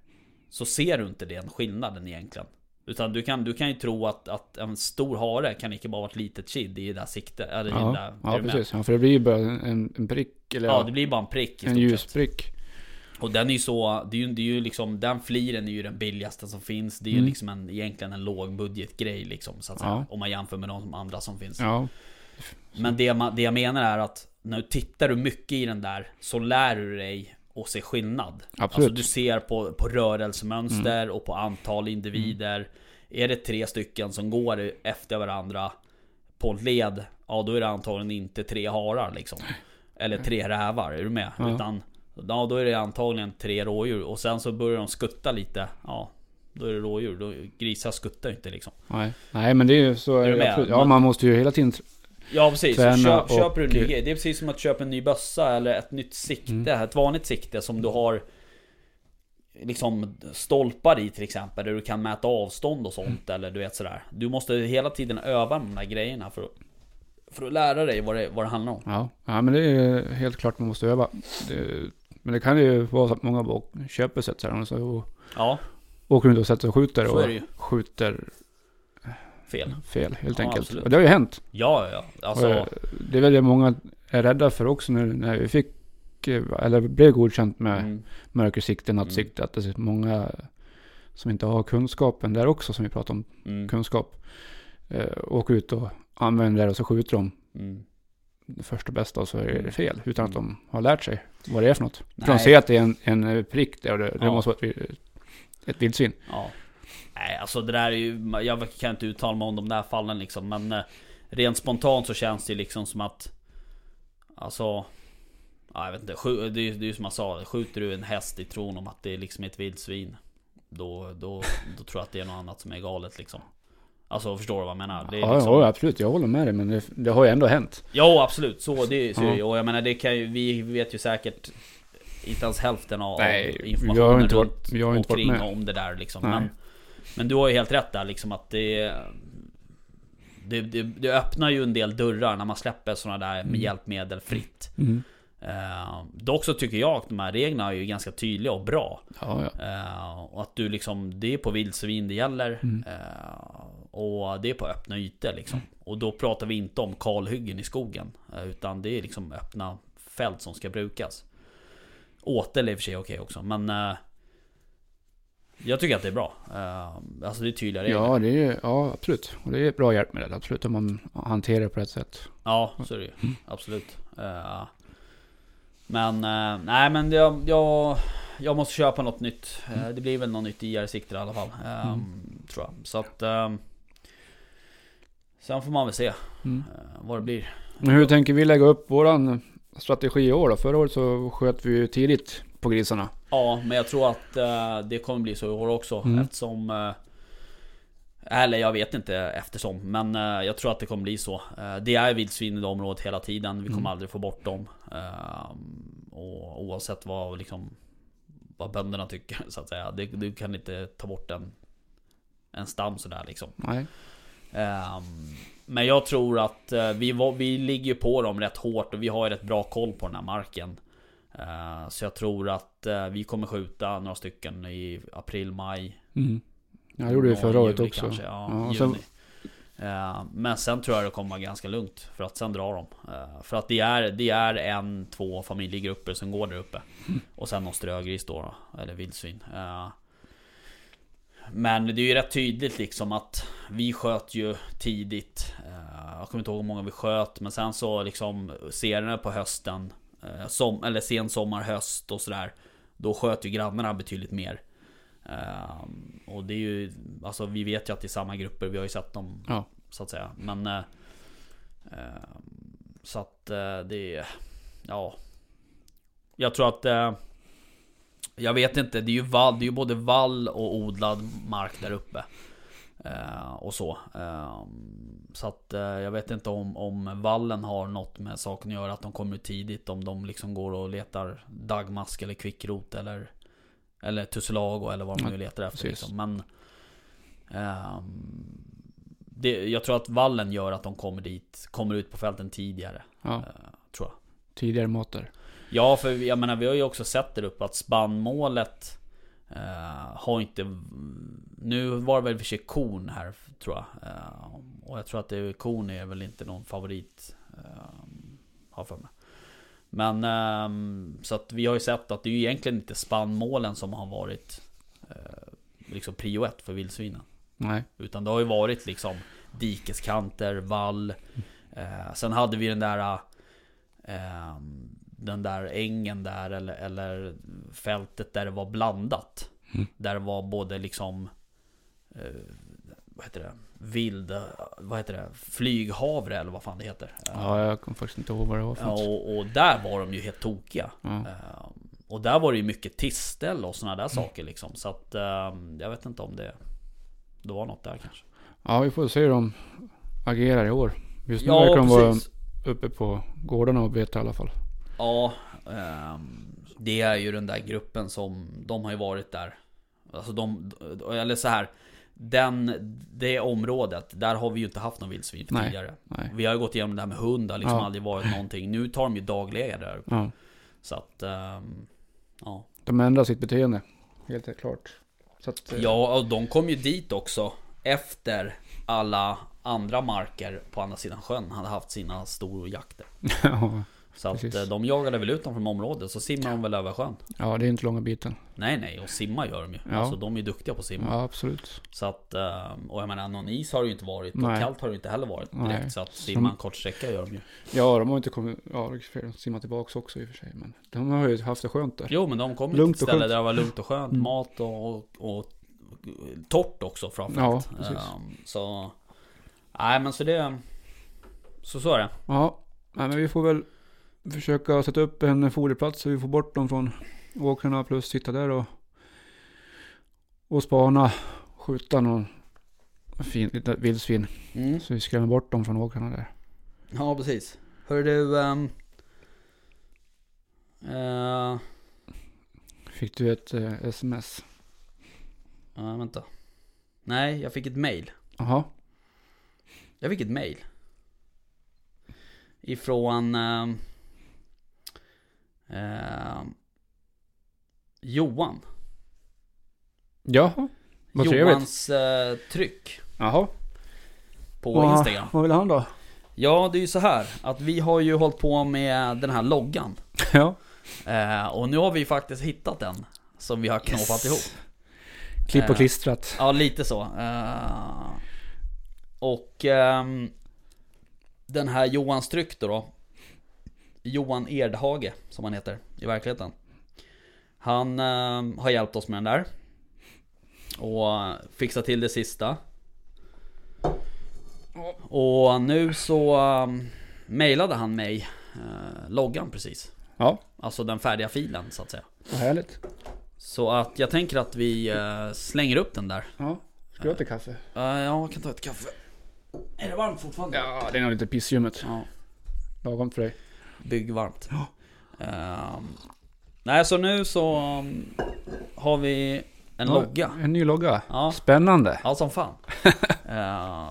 S1: Så ser du inte den skillnaden egentligen Utan du kan, du kan ju tro att, att en stor hare kan lika bara vara ett litet kid i det där siktet Eller i den
S2: Ja,
S1: där, är
S2: ja
S1: du med?
S2: precis. Ja, för det blir ju bara en, en, en prick eller
S1: Ja det blir bara en prick i
S2: en
S1: stort sett.
S2: ljusprick.
S1: Och den är ju så, det är ju, det är ju liksom, den fliren är ju den billigaste som finns Det är ju liksom en, egentligen en lågbudgetgrej liksom så att säga,
S2: Ja.
S1: Om man jämför med de som- andra som finns
S2: Ja,
S1: Men det, man, det jag menar är att När du tittar du mycket i den där Så lär du dig att se skillnad Alltså
S2: Absolut.
S1: du ser på, på rörelsemönster och på antal individer Är det tre stycken som går efter varandra På en led Ja då är det antagligen inte tre harar liksom Eller tre rävar, är du med? Utan ja, då är det antagligen tre rådjur och sen så börjar de skutta lite Ja då är det rådjur, då, grisar skuttar ju inte liksom
S2: nej. nej men det är ju så. Är
S1: du
S2: det
S1: med?
S2: absolut. Ja, man måste ju hela tiden... tr-
S1: Ja precis,
S2: Träna
S1: så köp,
S2: och-
S1: köper du en ny grej. Det är precis som att köpa en ny bössa eller ett nytt sikte,
S2: Mm.
S1: ett vanligt sikte som du har Liksom stolpar i till exempel, där du kan mäta avstånd och sånt
S2: Mm.
S1: eller du vet sådär Du måste hela tiden öva med de där grejerna för att, för att lära dig vad det, vad det handlar om
S2: Ja. ja, men det är ju helt klart man måste öva. Det, men det kan ju vara så att många bara köper sätt så här och så
S1: Ja,
S2: åker runt och sätter sig och skjuter
S1: Så är det ju.
S2: och skjuter
S1: fel
S2: fel helt
S1: Ja,
S2: enkelt.
S1: absolut.
S2: Och det har ju hänt.
S1: Ja ja, ja.
S2: Och eh,
S1: alltså
S2: Det är väl det många är rädda för också nu när vi fick, eh, eller blev godkänt med
S1: mm,
S2: mörkersikte, nattsikte, att det är många som inte har kunskapen där också, som vi pratar om,
S1: mm,
S2: kunskap. Eh, åker ut och använder det och så skjuter de
S1: mm.
S2: det första bästa och så är det fel, utan att de har lärt sig vad det är för något. För de
S1: Nej.
S2: ser att det är en, en eh, prick där och det, det
S1: Ja.
S2: måste vara ett, ett vildsvin.
S1: Ja. Nej, alltså det där är ju... Jag kan inte uttala mig om de där fallen liksom, men... Eh, rent spontant så känns det ju liksom som att... Alltså... Ja, jag vet inte. Skj- det, är, ju- det är ju som jag sa, skjuter du en häst i tron om att det är liksom ett vildsvin. Då, då, då tror jag att det är något annat som är galet liksom. Alltså förstår du vad jag menar? Det är
S2: Ja,
S1: liksom,
S2: ja, absolut, jag håller med dig, men det, det har ju ändå hänt.
S1: Jo absolut, så det så är det ju.
S2: Ja.
S1: Och jag menar det kan ju, vi vet ju säkert inte ens hälften av
S2: Nej,
S1: av
S2: jag
S1: informationen
S2: har inte
S1: runt
S2: varit- jag har inte
S1: och
S2: varit
S1: kring
S2: med.
S1: om det där liksom.
S2: Nej.
S1: Men, men du har ju helt rätt där liksom att det det, det det öppnar ju en del dörrar när man släpper sådana där
S2: Mm.
S1: med hjälpmedel fritt. Eh, dock så tycker jag att de här reglerna är ju ganska tydliga och bra.
S2: Ja, ja.
S1: Eh, och att du liksom, det är på vildsvin det gäller.
S2: Mm.
S1: Eh, och det är på öppna ytor liksom. Och då pratar vi inte om kalhyggen i skogen. eh, Utan det är liksom öppna fält som ska brukas. Åtel är i och för sig okej också, men... eh, Jag tycker att det är bra. Eh, Alltså det är tydliga regler.
S2: Ja, det är ju, ja, absolut. Och det är ett bra hjälpmedel, absolut, om man hanterar det på rätt sätt.
S1: Ja, så är det ju. Absolut. Eh, Men, eh, nej men jag, jag, jag måste köpa något nytt. Eh, Det blir väl något nytt IR-sikte i alla fall. eh, Tror jag. Så att... eh, Sen får man väl se
S2: Mm.
S1: eh, vad det blir.
S2: Men hur tänker vi lägga upp våran strategi i år då? Förra året så sköt vi ju tidigt på grisarna.
S1: Ja, men jag tror att eh, det kommer bli så i år också
S2: Mm.
S1: eftersom... eh, Eller jag vet inte eftersom, men eh, jag tror att det kommer bli så. Eh, Det är vildsvin i det området hela tiden, vi kommer
S2: Mm.
S1: aldrig få bort dem. Eh, Och oavsett vad, liksom, vad bönderna tycker så att säga. Det, du kan inte ta bort en, en stam sådär liksom.
S2: Nej.
S1: Ehm, Men jag tror att eh, vi, var, vi ligger ju på dem rätt hårt och vi har ju rätt bra koll på den här marken. Eh, Så jag tror att eh, vi kommer skjuta några stycken i april, maj.
S2: Mm. Ja, det gjorde vi
S1: och
S2: förra året
S1: juli
S2: också.
S1: kanske. Ja,
S2: Ja, och
S1: juni.
S2: sen-
S1: Eh, Men sen tror jag det kommer vara ganska lugnt för att sen drar de. Eh, För att det är, det är en, två familjegrupper som går där uppe. Och sen någon strögris då, då eller vildsvin. Eh, Men det är ju rätt tydligt liksom att vi sköt ju tidigt. Eh, Jag kommer inte ihåg hur många vi sköt, men sen så liksom senare på hösten, eh, som, eller sen sommar, höst och sådär. Då sköt ju grannarna betydligt mer. Eh, Och det är ju, alltså vi vet ju att det är samma grupper, vi har ju sett dem
S2: Ja.
S1: så att säga. Men... eh, eh, Så att eh, det... är- Ja. Jag tror att... eh, Jag vet inte, det är ju vall, det är ju både vall och odlad mark där uppe. Eh, Och så. Eh, Så att eh, jag vet inte om, om vallen har något med saken att göra. Att de kommer ut tidigt. Om de liksom går och letar dagmask eller kvickrot eller... Eller tussilago eller vad de nu letar efter.
S2: precis.
S1: Liksom. Men... ehm, det, jag tror att vallen gör att de kommer dit, kommer ut på fälten tidigare.
S2: Ja,
S1: eh, tror jag.
S2: tidigare måter.
S1: Ja, för jag menar vi har ju också sett där uppe att spannmålet eh, har inte... Nu var det väl i och för sig korn här, tror jag. Eh, och jag tror att det, korn är väl inte någon favorit. Eh, har jag för mig. Men ehm, så att vi har ju sett att det är ju egentligen inte spannmålen som har varit eh, liksom prio ett för vildsvinen.
S2: Nej.
S1: Utan det har ju varit liksom dikeskanter, vall. Eh, sen hade vi den där eh, Den där ängen där eller, eller fältet där det var blandat.
S2: Mm.
S1: Där det var både liksom eh, Vad heter det? Vild, eh, vad heter det? Flyghavre eller vad fan det heter. Eh,
S2: Ja, jag kommer faktiskt inte ihåg vad det var för
S1: ja,
S2: något.
S1: och, och där var de ju helt tokiga.
S2: Ja.
S1: Eh, och där var det ju mycket tistel och sådana där
S2: Mm.
S1: saker liksom. Så att eh, jag vet inte om det, det var något där kanske.
S2: ja, vi får se hur de agerar i år. Just nu
S1: Ja,
S2: verkar de vara
S1: precis.
S2: uppe på gårdarna och betar i alla fall.
S1: Ja, ehm, det är ju den där gruppen som de har ju varit där. Alltså de, eller så här. Den, det området, där har vi ju inte haft någon vildsvin
S2: Nej,
S1: tidigare.
S2: nej.
S1: Vi har ju gått igenom det här med hund, det har liksom
S2: Ja.
S1: aldrig varit någonting. Nu tar de ju dagliga där.
S2: Ja.
S1: Så att, ehm, ja.
S2: De ändrar sitt beteende. Helt klart. Så att, eh,
S1: Ja, och de kom ju dit också efter alla andra marker på andra sidan sjön hade haft sina storjakter.
S2: ja.
S1: Så att
S2: Precis.
S1: eh, de jagade väl ut dem från området, så simmar de väl över sjön.
S2: ja, det är inte långa biten.
S1: Nej nej, och simma gör de ju.
S2: Ja.
S1: Alltså de är ju duktiga på att simma.
S2: Ja, absolut.
S1: Så att, eh, och jag menar någon is har det ju inte varit. Och
S2: Nej.
S1: kallt har det ju inte heller varit direkt.
S2: Nej.
S1: Så att simma en kort sträcka gör de ju.
S2: Ja, de har inte kommit... Ja, det är fel. de simmar tillbaka också i och för sig. Men de har ju haft det skönt där.
S1: Jo men de kom ju till
S2: Lugnt
S1: ett
S2: och
S1: ställe
S2: skönt.
S1: där
S2: Mm.
S1: det var lugnt och skönt. Mat och, och, och torrt också framförallt.
S2: Ja, precis.
S1: Ehm, så, nej men så det... Så så är det.
S2: Ja, nej, men vi får väl försöka sätta upp en foderplats så vi får bort dem från åkrarna plus sitta där och, och spana, skjuta någon fin, lite vildsvin.
S1: Mm.
S2: Så vi skrämmer bort dem från åkrarna där.
S1: Ja, precis. Hör du... ehm, eh,
S2: Fick du ett eh, sms?
S1: ja, vänta. Nej, jag fick ett mail.
S2: Jaha,
S1: Jag fick ett mail. Ifrån... ehm, ehm, Johan.
S2: jaha, vad trevligt.
S1: Johans eh, tryck
S2: Jaha.
S1: på
S2: Vad-
S1: Instagram.
S2: Vad vill han då?
S1: Ja, det är ju så här att vi har ju hållit på med den här loggan.
S2: ja,
S1: Eh, och nu har vi faktiskt hittat den. Som vi har knåpat ihop.
S2: Klipp
S1: Eh.
S2: och klistrat.
S1: Ja, lite så. Eh, och ehm, den här Johan Stryck då, då. Johan Erdhage, som han heter i verkligheten. Han ehm, har hjälpt oss med den där. Och fixat till det sista. Och nu så um, mejlade han mig eh, loggan precis.
S2: Ja,
S1: Alltså den färdiga filen så att säga.
S2: vad härligt.
S1: Så att jag tänker att vi eh, slänger upp den där.
S2: Ja. Ska du ha lite kaffe?
S1: Eh, ja, jag kan ta ett kaffe. Är det varmt fortfarande?
S2: Ja, det är nog lite pissljummet.
S1: Ja,
S2: Lagom för dig.
S1: byggvarmt. Ehm, nej, så nu så um, har vi en logga.
S2: Ja, en ny logga.
S1: Ja.
S2: Spännande.
S1: Ja, som fan. Eh,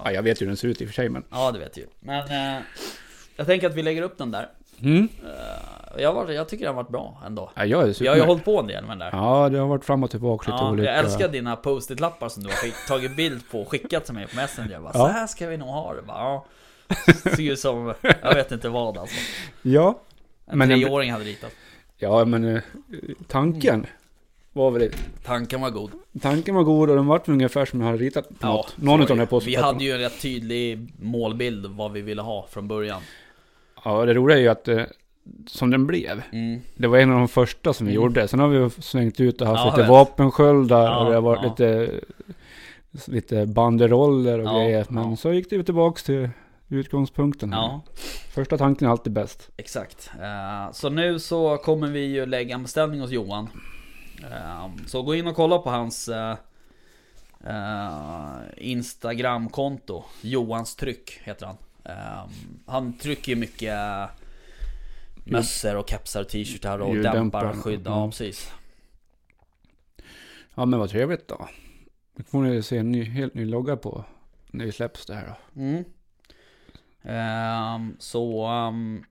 S2: Ja, jag vet ju hur den ser ut i och för sig, men...
S1: ja, det vet du ju. Men eh, jag tänker att vi lägger upp den där.
S2: Mm.
S1: Eh, jag, var, jag tycker den har varit bra ändå.
S2: Ja, jag är
S1: Jag har ju
S2: supernöjd.
S1: hållit på en del med den där.
S2: Ja, det har varit fram och tillbaka lite
S1: Ja,
S2: olika.
S1: Jag älskar dina post-it-lappar som du har skick- tagit bild på och skickat till mig på Messenger. Jag Bara,
S2: Ja.
S1: Så här ska vi nog ha det. Bara, ja. Ser ut som, jag vet inte vad alltså.
S2: Ja,
S1: En
S2: Men en-
S1: treåring hade ritat.
S2: ja men eh, tanken var väl...
S1: Tanken var god.
S2: Tanken var god och den vart ungefär som jag hade ritat på något. Någon av de här
S1: Vi
S2: postpapperna.
S1: hade ju en rätt tydlig målbild vad vi ville ha från början.
S2: Ja, det roliga är ju att eh, som den blev.
S1: Mm.
S2: Det var en av de första som vi
S1: Mm.
S2: gjorde. Sen har vi svängt ut och haft
S1: Ja, jag
S2: lite
S1: vet.
S2: vapensköldar
S1: Ja,
S2: och det har varit
S1: ja.
S2: lite, lite banderoller och
S1: Ja,
S2: grejer. Men
S1: ja.
S2: så gick det tillbaka till utgångspunkten. här.
S1: Ja,
S2: Första tanken är alltid bäst.
S1: exakt. Eh, Så nu så kommer vi ju lägga en beställning hos Johan. Eh, Så gå in och kolla på hans eh, eh, Instagramkonto. Johans tryck heter han. Eh, Han trycker ju mycket mössor och kepsar, t-shirtar och
S2: Ljuddämpare.
S1: dämpar, skydd. Ja,
S2: Mm.
S1: precis.
S2: Ja men vad trevligt då. Nu får ni se en ny, helt ny logga på när vi släpps det här då.
S1: Mm. Ehm, så, ehm,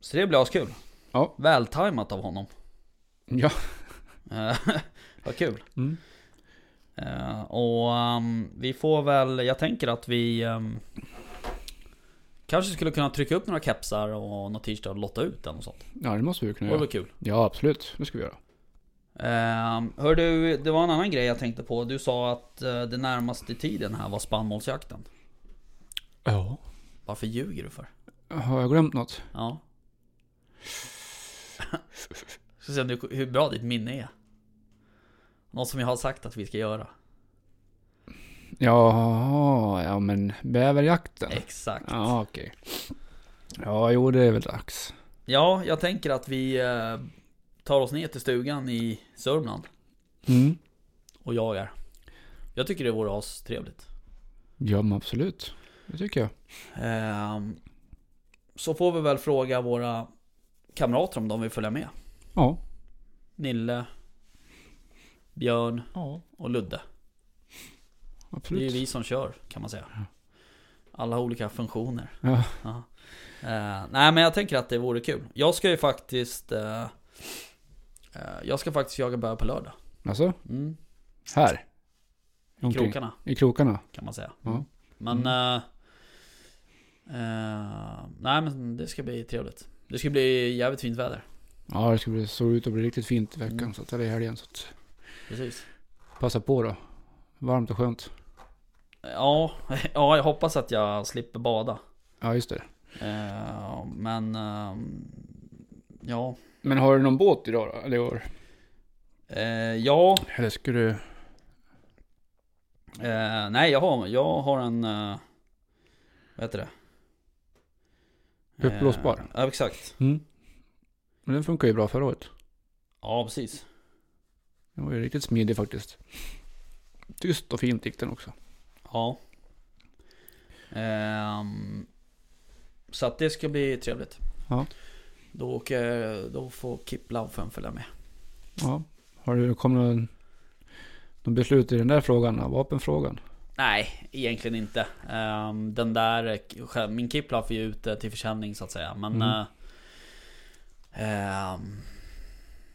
S1: så det blir askul.
S2: Ja.
S1: Vältajmat av honom.
S2: Ja.
S1: Eh, Vad kul.
S2: Mm.
S1: Eh, och ehm, vi får väl, jag tänker att vi ehm, kanske skulle kunna trycka upp några kepsar och några t-shirtar och lotta ut den och sånt.
S2: Ja det måste vi kunna
S1: Det vore
S2: göra.
S1: väl kul.
S2: Ja absolut, det ska vi göra.
S1: Ehm, hör du, det var en annan grej jag tänkte på. Du sa att eh, det närmaste tiden här var spannmålsjakten.
S2: Ja.
S1: Varför ljuger du för?
S2: Har jag glömt något?
S1: Ja. Ska se om du, hur bra ditt minne är. Något som jag har sagt att vi ska göra.
S2: Jaha, ja men bäverjakten.
S1: Exakt.
S2: Ja okej. Ja jo det är väl dags.
S1: Ja, jag tänker att vi eh, tar oss ner till stugan i Sörmland
S2: Mm.
S1: och jagar. Jag tycker det vore astrevligt.
S2: Ja men absolut. Det tycker jag.
S1: Ehm, så får vi väl fråga våra kamrater om de vill följa med.
S2: Ja.
S1: Nille, Björn
S2: Ja.
S1: och Ludde. Det är ju
S2: Absolut.
S1: vi som kör kan man säga. Alla olika funktioner.
S2: Ja.
S1: Ja. Eh, nej men jag tänker att det vore kul. Jag ska ju faktiskt eh, eh, Jag ska faktiskt jaga bär på lördag.
S2: Alltså,
S1: Mm.
S2: här.
S1: I
S2: Omkring.
S1: krokarna
S2: I krokarna.
S1: kan man säga.
S2: Ja. Mm.
S1: Men eh, eh, Nej men det ska bli trevligt. Det ska bli jävligt fint väder.
S2: Ja det ska bli, såg ut att bli riktigt fint i veckan.
S1: Mm.
S2: Så att, eller i helgen. Så att,
S1: Precis.
S2: passa på då. Varmt och skönt.
S1: Ja, ja jag hoppas att jag slipper bada.
S2: Ja just det.
S1: Eh, men eh, Ja.
S2: Men har du någon båt idag då? Eller, i år?
S1: Eh, ja,
S2: eller ska du...
S1: Eh, nej, jag har, jag har en... Eh, vad heter det?
S2: Uppblåsbar.
S1: Eh, Ja, exakt.
S2: Mm. Men den funkar ju bra förra året.
S1: Ja, precis.
S2: Den var ju riktigt smidig faktiskt. Tyst och fint gick den också.
S1: Ja. Ehm, så att det ska bli trevligt.
S2: Ja.
S1: Då, åker, då får Kip Laufen följa med.
S2: Ja. Har du kommit någon, någon beslut i den där frågan? då? Vapenfrågan?
S1: Nej, egentligen inte. Ehm, den där, själv- min Kiplauf är ju ute till försäljning så att säga. Men...
S2: Mm.
S1: eh, ehm,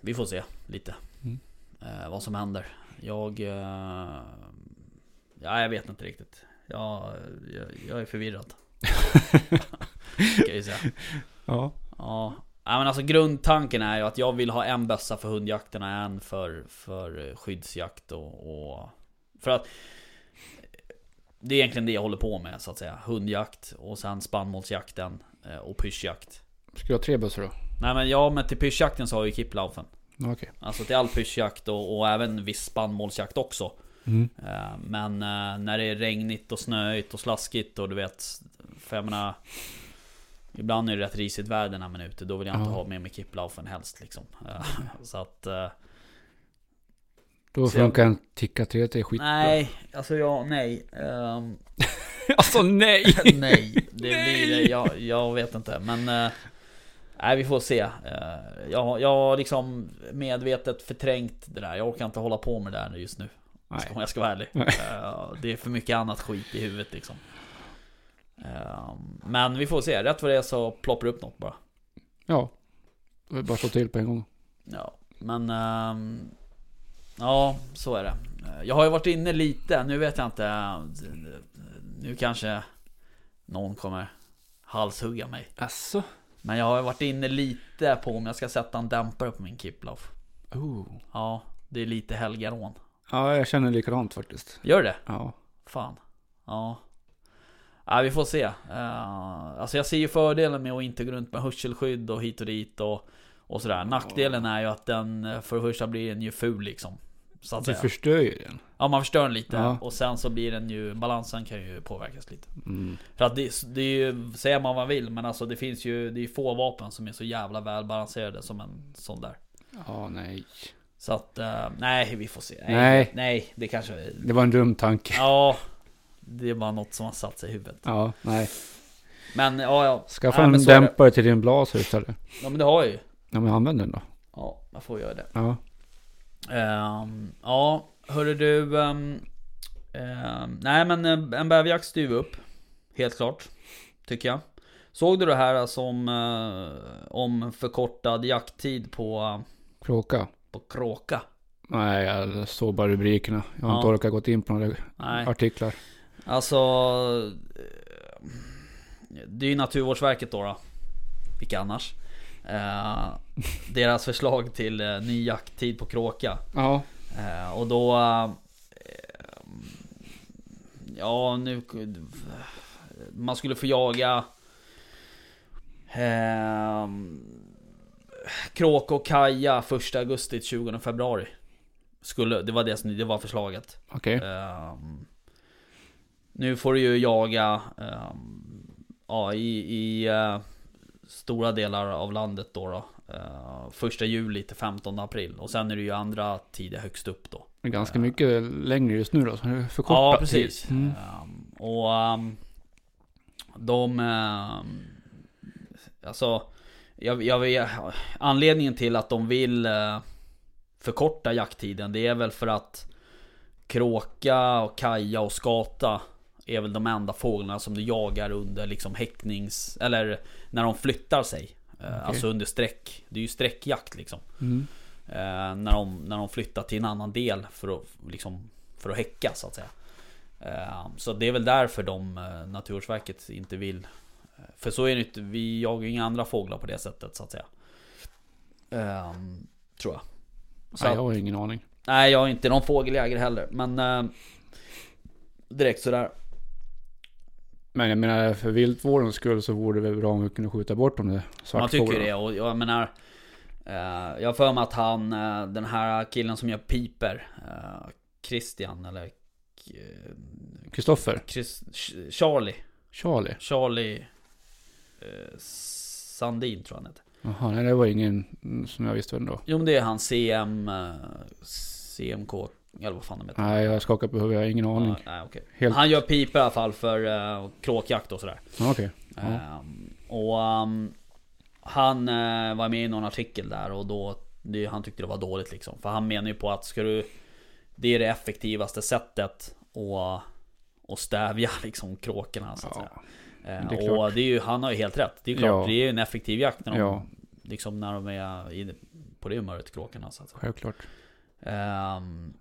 S1: vi får se lite.
S2: Mm.
S1: eh, vad som händer. Jag... eh, ja, jag vet inte riktigt. Jag, jag, jag är förvirrad. Ska jag ju säga.
S2: Ja.
S1: Ja. Ja, men alltså grundtanken är ju att jag vill ha en bössa för hundjakten och en för, för eh, skyddsjakt och, och... För att... eh, Det är egentligen det jag håller på med så att säga. Hundjakt och sen spannmålsjakten eh, och pyschjakt.
S2: Ska du ha tre bössor då?
S1: Nej men ja, men till pyschjakten så har jag ju kipplaufen.
S2: Ja, Okej.
S1: Alltså till all pyschjakt och, och även viss spannmålsjakt också.
S2: Mm.
S1: Eh, Men eh, när det är regnigt och snöigt och slaskigt och du vet För jag menar Ibland är det rätt risigt väder när man är ute Då vill jag inte
S2: Ja.
S1: ha med mig kipplaufen helst liksom Eh, Så att eh,
S2: Då
S1: Så jag-
S2: funkar en ticka 3 till skitbra.
S1: Nej, alltså jag, nej Ehm,
S2: alltså nej!
S1: Nej, det blir det, jag, jag vet inte men eh, Nej vi får se Eh, jag, jag har liksom medvetet förträngt det där Jag orkar inte hålla på med det där just nu
S2: Nej.
S1: Om jag ska vara ärlig.
S2: Nej.
S1: Eh, Det är för mycket annat skit i huvudet liksom. Eh, Men vi får se. Rätt vad det är så ploppar det upp något bara.
S2: Ja. Då är det bara att slå till på en gång.
S1: Ja, men... ehm, Ja, så är det. Eh, Jag har ju varit inne lite. Nu vet jag inte. eh, Nu kanske någon kommer halshugga mig.
S2: Asså?
S1: Men jag har ju varit inne lite på om jag ska sätta en dämpare på min Kiploff.
S2: Oh.
S1: Ja, det är lite helgarån.
S2: Ja, jag känner likadant faktiskt.
S1: Gör det?
S2: Ja.
S1: Fan. Ja. Ja, vi får se. Eh, alltså jag ser ju fördelen med att inte gå runt med hörselskydd och hit och dit och, och sådär. Nackdelen är ju att den eh, för det första blir den ju ful liksom. Så att
S2: Du
S1: säga.
S2: förstör ju den.
S1: Ja man förstör den lite
S2: Ja.
S1: och sen så blir den ju, balansen kan ju påverkas lite.
S2: Mm.
S1: För att det, det är ju, säger man vad man vill men alltså det finns ju, det är ju få vapen som är så jävla välbalanserade som en sån där.
S2: Ja, nej.
S1: Så att, eh, nej vi får se.
S2: Nej.
S1: Nej, det kanske,
S2: Det var en dum tanke.
S1: ja. Det är bara något som har satt sig i huvudet.
S2: Ja, nej.
S1: Men ja, ja.
S2: Skaffa
S1: Nej, men
S2: en
S1: så är det.
S2: dämpare till din blaser istället.
S1: Ja men det har jag ju.
S2: Ja, men använd den då.
S1: Ja, man får göra det.
S2: Ja.
S1: Ehm, ja, hörru du. ehm, ehm, nej men eh, en bäverjakt styr vi upp. Helt klart. Tycker jag. Såg du det här som eh, om förkortad jakttid på,
S2: Kråka.
S1: på kråka?
S2: Nej, jag såg bara rubrikerna. Jag har
S1: Ja.
S2: inte orkat gått in på några
S1: Nej.
S2: artiklar.
S1: Alltså... eh, Det är ju Naturvårdsverket då. då. Vilka annars? Eh, deras förslag till eh, ny jakttid på kråka.
S2: Ja.
S1: Eh, och då... Eh, ja, nu... Man skulle få jaga... Eh, kråk och kaja 1 augusti till 20 februari. Skulle, det var det, som- det var förslaget.
S2: Okej.
S1: Ehm, nu får du ju jaga ehm, ja, i, i eh, stora delar av landet då. då. Eh, första juli till 15 april. Och sen är det ju andra tider högst upp då.
S2: Det är Ganska mycket längre just nu då. Så det är förkortat.
S1: Ja, precis.
S2: Mm.
S1: Ehm, och ehm, de... ehm, alltså, jag, jag vet, anledningen till att de vill eh, förkorta jakttiden det är väl för att kråka, och kaja och skata är väl de enda fåglarna som du jagar under liksom häcknings... Eller när de flyttar sig. Eh, Alltså under sträck. Det är ju sträckjakt liksom.
S2: Mm.
S1: Eh, när, de, när de flyttar till en annan del för att, liksom, för att häcka så att säga. Eh, så det är väl därför de, eh, Naturvårdsverket inte vill. Eh, För så är det inte, vi jagar ju inga andra fåglar på det sättet så att säga. Eh, tror jag. Så
S2: Nej,
S1: att-
S2: jag har ingen aning.
S1: Nej jag är inte någon fågeljägare heller men eh, Direkt sådär.
S2: Men jag menar för viltvårdens skull så vore det väl bra om vi kunde skjuta bort de där
S1: Man tycker
S2: svartfåglarna.
S1: det och jag menar eh, Jag har för mig att han, eh, den här killen som gör piper eh, Christian eller eh,
S2: Kristoffer.
S1: Chris, Ch- Charlie
S2: Charlie.
S1: Charlie eh, Sandin tror jag han heter.
S2: Jaha, nej det var ingen mm, som jag visste vem då.
S1: Jo men det är han CM eh, CMK eller vad fan de heter.
S2: Nej, jag skakar på huvudet. Jag har ingen aning.
S1: Ja, nej, okej.
S2: Helt-
S1: Han gör pipa i alla fall för eh, kråkjakt och sådär.
S2: Ja, Okej. Ja.
S1: Ehm, och ehm, han eh, var med i någon artikel där och då det, han tyckte det var dåligt liksom. För han menar ju på att ska du Det är det effektivaste sättet att, att stävja liksom kråkorna så att säga.
S2: Ja.
S1: Eh,
S2: Det är klart.
S1: Och det är ju, han har ju helt rätt. Det är ju klart,
S2: Ja.
S1: det är ju en effektiv jakt när de,
S2: ja,
S1: liksom när de är i, på det humöret, kråkorna. Så att säga.
S2: självklart.
S1: Ehm,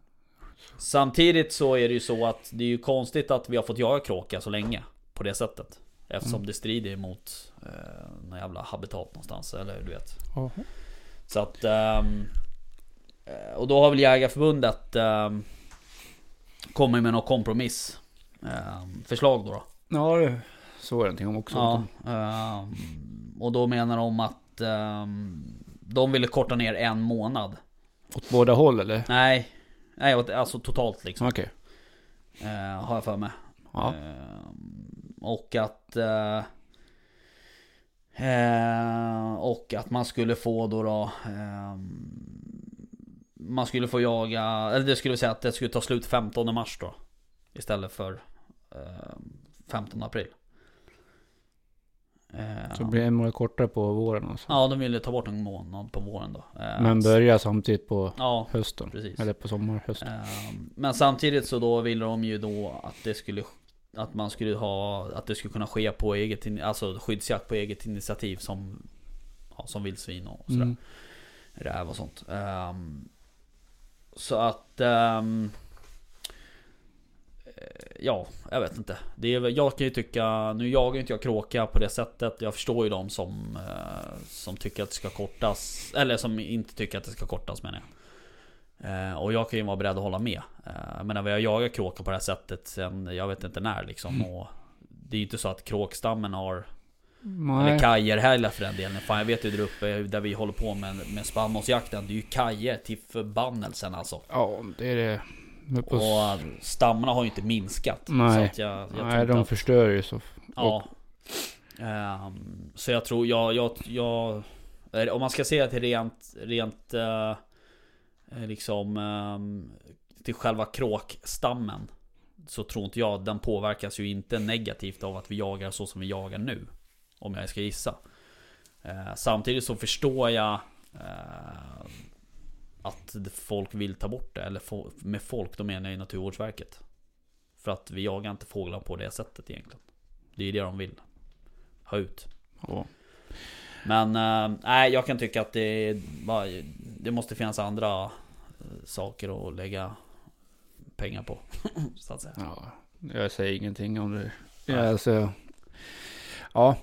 S1: samtidigt så är det ju så att det är ju konstigt att vi har fått jaga kråka så länge på det sättet. Eftersom
S2: Mm.
S1: det strider emot eh, någon jävla habitat någonstans, eller du vet.
S2: Jaha.
S1: Så att... ehm, eh, och då har väl Jägarförbundet um, kommit med någon kompromiss. ehm, förslag då. då.
S2: Ja, det såg jag någonting om också.
S1: Ja, ehm, och då menar de att ehm, de ville korta ner en månad.
S2: Åt båda håll eller?
S1: Nej, nej alltså totalt liksom.
S2: Okej.
S1: eh, har jag för mig.
S2: Ja.
S1: Eh, Ehm, och att... eh, eh, och att man skulle få då då... ehm, man skulle få jaga... Eller det skulle säga att det skulle ta slut 15 mars då. Istället för ehm, 15 april. Eh,
S2: Så blir det en månad kortare på våren och så.
S1: Ja, de ville ta bort en månad på våren då. Eh,
S2: Men börjar samtidigt på
S1: Ja,
S2: hösten.
S1: precis.
S2: Eller på sommar, hösten.
S1: Ehm, Men samtidigt så då ville de ju då att det skulle Att man skulle ha Att det skulle kunna ske på eget in- Alltså skyddsjakt på eget initiativ som ja, Som vildsvin och sådär
S2: Mm.
S1: Räv och sånt Ehm, Så att ehm, eh, Ja, jag vet inte det är, väl- Jag kan ju tycka Nu jagar ju inte jag kråka på det sättet Jag förstår ju de som eh, Som tycker att det ska kortas Eller som inte tycker att det ska kortas menar jag Eh, och jag kan ju vara beredd att hålla med. Eh, men när vi har jagat kråkor på det här sättet sen jag vet inte när liksom. Och det är ju inte så att kråkstammen har, eller
S2: Nej.
S1: kajer heller för den delen. Fan jag vet ju där uppe där vi håller på med, med spannmålsjakten. Det är ju kajer till förbannelsen alltså.
S2: Ja, det är det. Men på...
S1: Och stammarna har ju inte minskat.
S2: Nej.
S1: Så att jag, jag tror
S2: Nej,
S1: inte
S2: de
S1: att-
S2: förstör ju så.
S1: Ja. Ehm, så jag tror, jag, jag, jag eh, Om man ska se till rent, rent eh, eh, liksom ehm, Till själva kråkstammen Så tror inte jag, den påverkas ju inte negativt av att vi jagar så som vi jagar nu Om jag ska gissa Eh, Samtidigt så förstår jag eh, Att folk vill ta bort det, eller fo- med folk då menar jag ju Naturvårdsverket För att vi jagar inte fåglar på det sättet egentligen det är ju det de vill ha ut.
S2: Ja.
S1: Men eh, nej, jag kan tycka att det, är bara, det måste finnas andra eh, saker att lägga pengar på. så att säga.
S2: ja. Jag säger ingenting om det. Ja, alltså. Ja.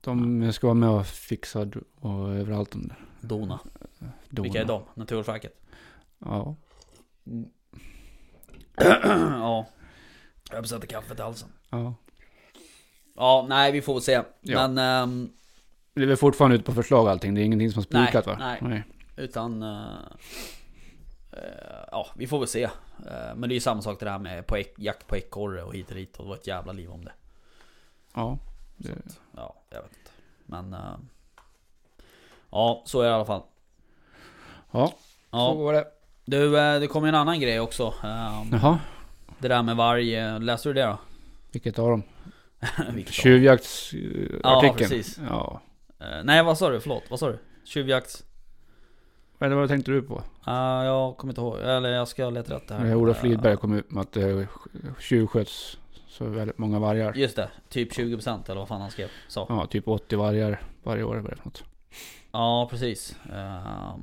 S2: De ska vara med och fixa och överallt om det.
S1: Dona.
S2: Dona.
S1: Vilka är de? Naturvårdsverket?
S2: Ja.
S1: ja. Jag besätter kaffet i halsen.
S2: ja.
S1: Ja, nej vi får väl se.
S2: Ja.
S1: Men ehm,
S2: Det är väl fortfarande ute på förslag allting. Det är ingenting som har
S1: Nej,
S2: spikat va?
S1: nej. utan... eh, eh, ja, vi får väl se. Eh, men det är ju samma sak det här med på ek- jakt på ekorre och hit och dit. Och det var ett jävla liv om det.
S2: Ja. Det...
S1: Ja, jag vet inte. Men... eh, ja, så är det i alla fall.
S2: Ja. Så
S1: Ja.
S2: går det.
S1: Du, eh, det kom ju en annan grej också. Eh,
S2: Jaha.
S1: Det där med varg. eh, Läste du det då?
S2: Vilket av dem?
S1: Vilket då?
S2: Tjuvjaktsartikeln.
S1: Ja, precis.
S2: Ja.
S1: Eh, Nej, vad sa du? Förlåt, vad sa du? Tjuvjakt?
S2: Eller vad tänkte du på?
S1: Ah, jag kommer inte ihåg. Eller jag ska leta rätt det här.
S2: När Ola
S1: Eh,
S2: Fridberg kom ut med att det tjuvsköts så väldigt många vargar.
S1: Just det, typ 20% eller vad fan han skrev. Så.
S2: Ja, typ 80 vargar varje år eller något.
S1: Ja, precis.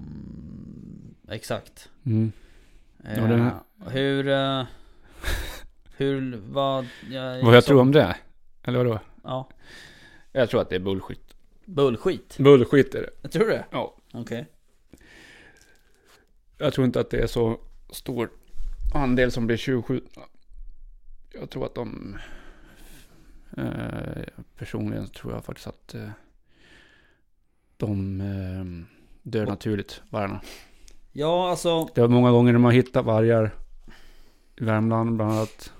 S1: Ehm, exakt.
S2: Mm.
S1: Eh,
S2: Ja, den här-
S1: Hur... eh, hur, vad... Jag,
S2: Vad jag
S1: så-
S2: tror om det? Eller vadå?
S1: Ja.
S2: Jag tror att det är bullshit.
S1: Bullskit.
S2: Bullshit är det.
S1: Tror du det?
S2: Ja.
S1: Okej.
S2: Jag tror inte att det är så stor andel som blir tjuvskjutna. Jag tror att de... Eh, personligen tror jag faktiskt att eh, de eh, dör naturligt, vargarna.
S1: Ja, alltså...
S2: Det var många gånger de har hittat vargar i Värmland bland annat.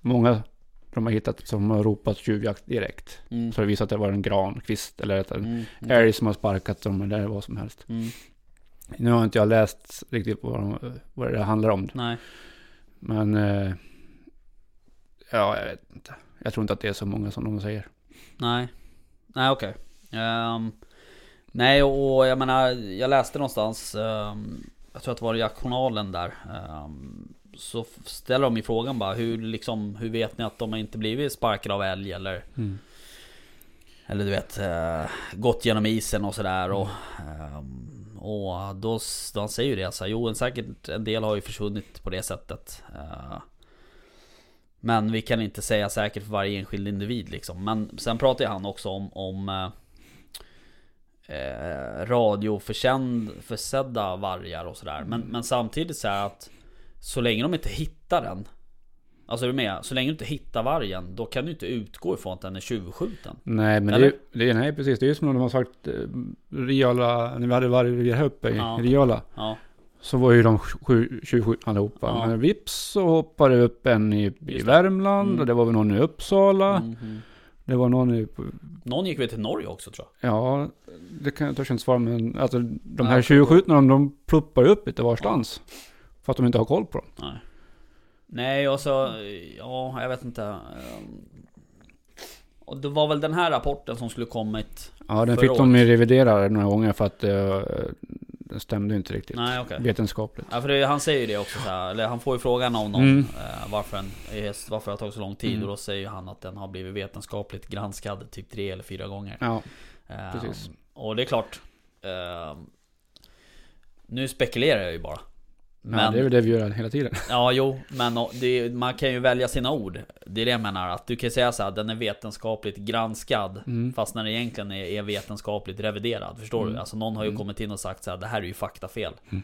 S2: Många de har hittat som har ropat tjuvjakt direkt.
S1: Mm.
S2: Så det visar att det var en grankvist eller ett, en
S1: Mm.
S2: älg som har sparkat dem eller vad som helst.
S1: Mm.
S2: Nu har inte jag läst riktigt vad, de, vad det handlar om.
S1: Nej.
S2: Men eh, ja, jag vet inte. Jag tror inte att det är så många som de säger.
S1: Nej. Nej, okej. Ehm, nej, och och jag menar, jag läste någonstans, ehm, jag tror att det var i Journalen där, ehm, så f- ställer de ju frågan bara, hur, liksom, hur vet ni att de inte blivit sparkade av älg eller, eller du vet, eh, gått genom isen och sådär. Och, ehm, och då, s- han säger ju det, så här, jo en säkert en del har ju försvunnit på det sättet. eh, Men vi kan inte säga säkert för varje enskild individ liksom. Men sen pratar ju han också om, om eh, eh, radioförsedda vargar och sådär. Men, men samtidigt så här att så länge de inte hittar den. Alltså är du med? Så länge du inte hittar vargen, då kan du inte utgå ifrån att den är tjuvskjuten.
S2: Nej, men det,
S1: Eller?
S2: är- det, är- nej, precis. Det är ju som när de har sagt eh, Riala, när vi hade vargar här uppe i
S1: Ja.
S2: Riala.
S1: Ja,
S2: Så var ju de sju- 27 allihopa.
S1: Ja.
S2: Men vips så hoppade det upp en i, i
S1: det.
S2: Värmland.
S1: Mm.
S2: Och det var väl någon i Uppsala.
S1: mm, mm.
S2: Det var någon i...
S1: Någon gick väl till Norge också tror jag.
S2: Ja, det kan jag törs inte svara men alltså de här
S1: Nej,
S2: 27 de, de ploppar upp lite varstans. För att de inte har koll på dem.
S1: Nej. Nej, och så... Ja, jag vet inte. Ehm, Och det var väl den här rapporten som skulle kommit...
S2: Ja, den
S1: Förra
S2: fick de ju revidera några gånger för att eh, den stämde ju inte riktigt
S1: Nej, okej.
S2: vetenskapligt.
S1: Ja, för det, han säger ju det också så här, eller han får ju frågan av någon
S2: Mm.
S1: eh, varför, en, häst- varför det har tagit så lång tid
S2: Mm.
S1: och då säger ju han att den har blivit vetenskapligt granskad typ tre eller fyra gånger.
S2: Ja,
S1: Ehm,
S2: precis.
S1: Och det är klart. ehm, nu spekulerar jag ju bara. Men,
S2: ja, det är väl det vi gör hela tiden.
S1: Ja, jo, men och det, man kan ju välja sina ord. Det är det jag menar, att du kan ju säga så här, den är vetenskapligt granskad.
S2: Mm.
S1: Fast när den egentligen är, är vetenskapligt reviderad, förstår
S2: Mm.
S1: du? Alltså någon har ju
S2: Mm.
S1: kommit in och sagt så här, det här är ju faktafel.
S2: Mm.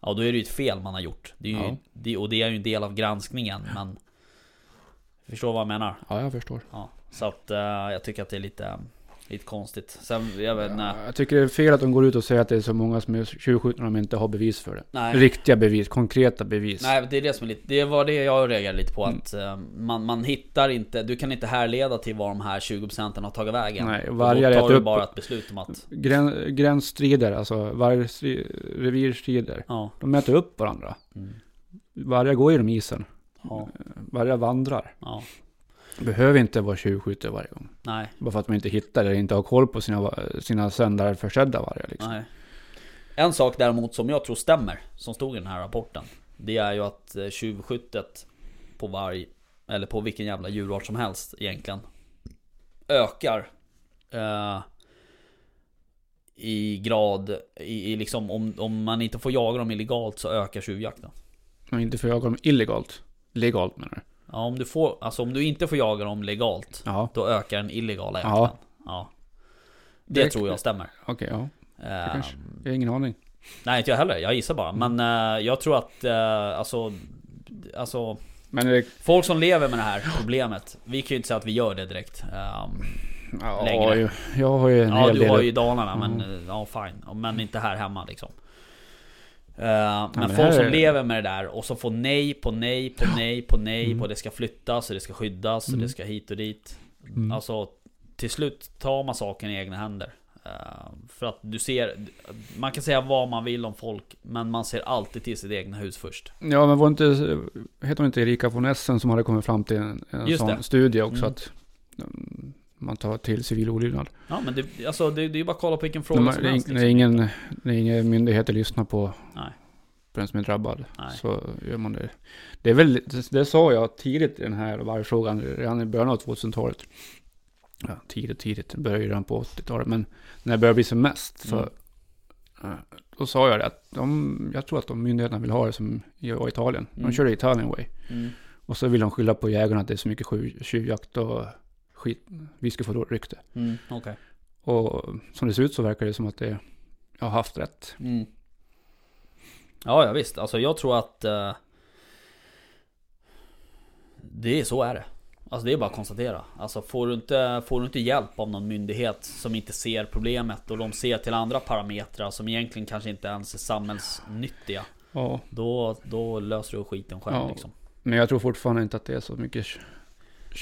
S1: Ja, då är det ju ett fel man har gjort. Det är ju,
S2: Ja.
S1: det, och det är ju en del av granskningen, men... Förstår vad jag menar?
S2: Ja, jag förstår.
S1: Ja. Så att eh, jag tycker att det är lite, lite konstigt. Sen, jag vet inte.
S2: Ja, jag tycker det är fel att de går ut och säger att det är så många som är tjuvskjutna om de inte har bevis för det.
S1: Nej.
S2: Riktiga bevis, konkreta bevis.
S1: Nej, det är det som är lite, det var det jag reagerade lite
S2: Mm.
S1: på att eh, man, man hittar inte, du kan inte härleda till var de här 20% har tagit vägen.
S2: Nej, och
S1: Och
S2: vargar
S1: då tar
S2: äter
S1: du
S2: upp-
S1: bara ett beslut om att,
S2: Grän, gränsstrider, alltså vargstri- revirstrider.
S1: ja,
S2: De mäter upp varandra.
S1: Mm.
S2: Vargar går genom isen.
S1: ja,
S2: Vargar vandrar.
S1: ja,
S2: Behöver inte vara tjuvskjuter varje gång.
S1: nej,
S2: Bara för att man inte hittar eller inte har koll på sina, va- sina sändarförsedda vargar. Liksom.
S1: nej. En sak däremot som jag tror stämmer, som stod i den här rapporten. Det är ju att eh, tjuvskyttet på varg, eller på vilken jävla djurart som helst egentligen, ökar. eh, i grad, i, i liksom om, om man inte får jaga dem illegalt så ökar tjuvjakten.
S2: Men inte för jag dem illegalt. Legalt menar du?
S1: Ja, om du, får, alltså om du inte får jaga dem legalt,
S2: Ja,
S1: då ökar den illegala jakten.
S2: Ja.
S1: Ja. Det,
S2: Det-
S1: tror jag stämmer.
S2: okej ja.
S1: Ehm,
S2: kanske. Jag har ingen aning.
S1: nej, inte jag heller. Jag gissar bara. Men eh, jag tror att, eh, alltså, alltså,
S2: Men eh, det,
S1: folk som lever med det här problemet, vi kan ju inte säga att vi gör det direkt. Ehm,
S2: ja,
S1: Längre.
S2: jag- jag har ju en
S1: ja, du
S2: hel del. Mm.
S1: har ju i Dalarna, men eh, ja, fine. Ja, Men inte här hemma liksom. Eh, men
S2: men
S1: folk
S2: här
S1: som
S2: är-
S1: lever med det där och som får nej på nej på nej på nej på det ska flyttas och det ska skyddas och det ska hit och dit.
S2: Mm.
S1: Alltså till slut tar man saken i egna händer. Eh, för att du ser, man kan säga vad man vill om folk men man ser alltid till sitt egna hus först.
S2: Ja, men var inte, heter hon inte Erika von Essen som hade kommit fram till en, en
S1: Just
S2: sån
S1: det.
S2: studie också
S1: Mm.
S2: att mm, man tar till civil olydnad.
S1: Ja men det, alltså, det, det är ju bara att kolla på vilken fråga
S2: När, man-
S1: som
S2: det är
S1: helst. liksom.
S2: ing- när, ingen, när ingen myndigheter lyssnar på,
S1: Nej.
S2: på den som är drabbad
S1: Nej.
S2: så gör man det. Det, är väl, det, det sa jag tidigt i den här vargfrågan, redan i början av 2000-talet. Ja, tidigt, tidigt, det började ju redan på 80-talet, men när det började bli som mest så
S1: Mm.
S2: eh, då sa jag det att de, jag tror att de myndigheterna vill ha det som i var i Italien.
S1: Mm.
S2: De körde Italien way.
S1: Mm.
S2: Och så vill de skylla på jägarna att det är så mycket sju- tjuvjakt och skit. Vi ska få dåligt rykte.
S1: Mm, okej.
S2: Och som det ser ut så verkar det som att det, jag har haft rätt.
S1: Mm. Ja, ja visst. Alltså jag tror att eh, Det är så är det. Alltså det är bara att konstatera. Alltså får du, inte, får du inte hjälp av någon myndighet som inte ser problemet och de ser till andra parametrar som egentligen kanske inte ens är samhällsnyttiga.
S2: Ja.
S1: Då, då löser du skiten själv
S2: Ja,
S1: liksom.
S2: Men jag tror fortfarande inte att det är så mycket tj-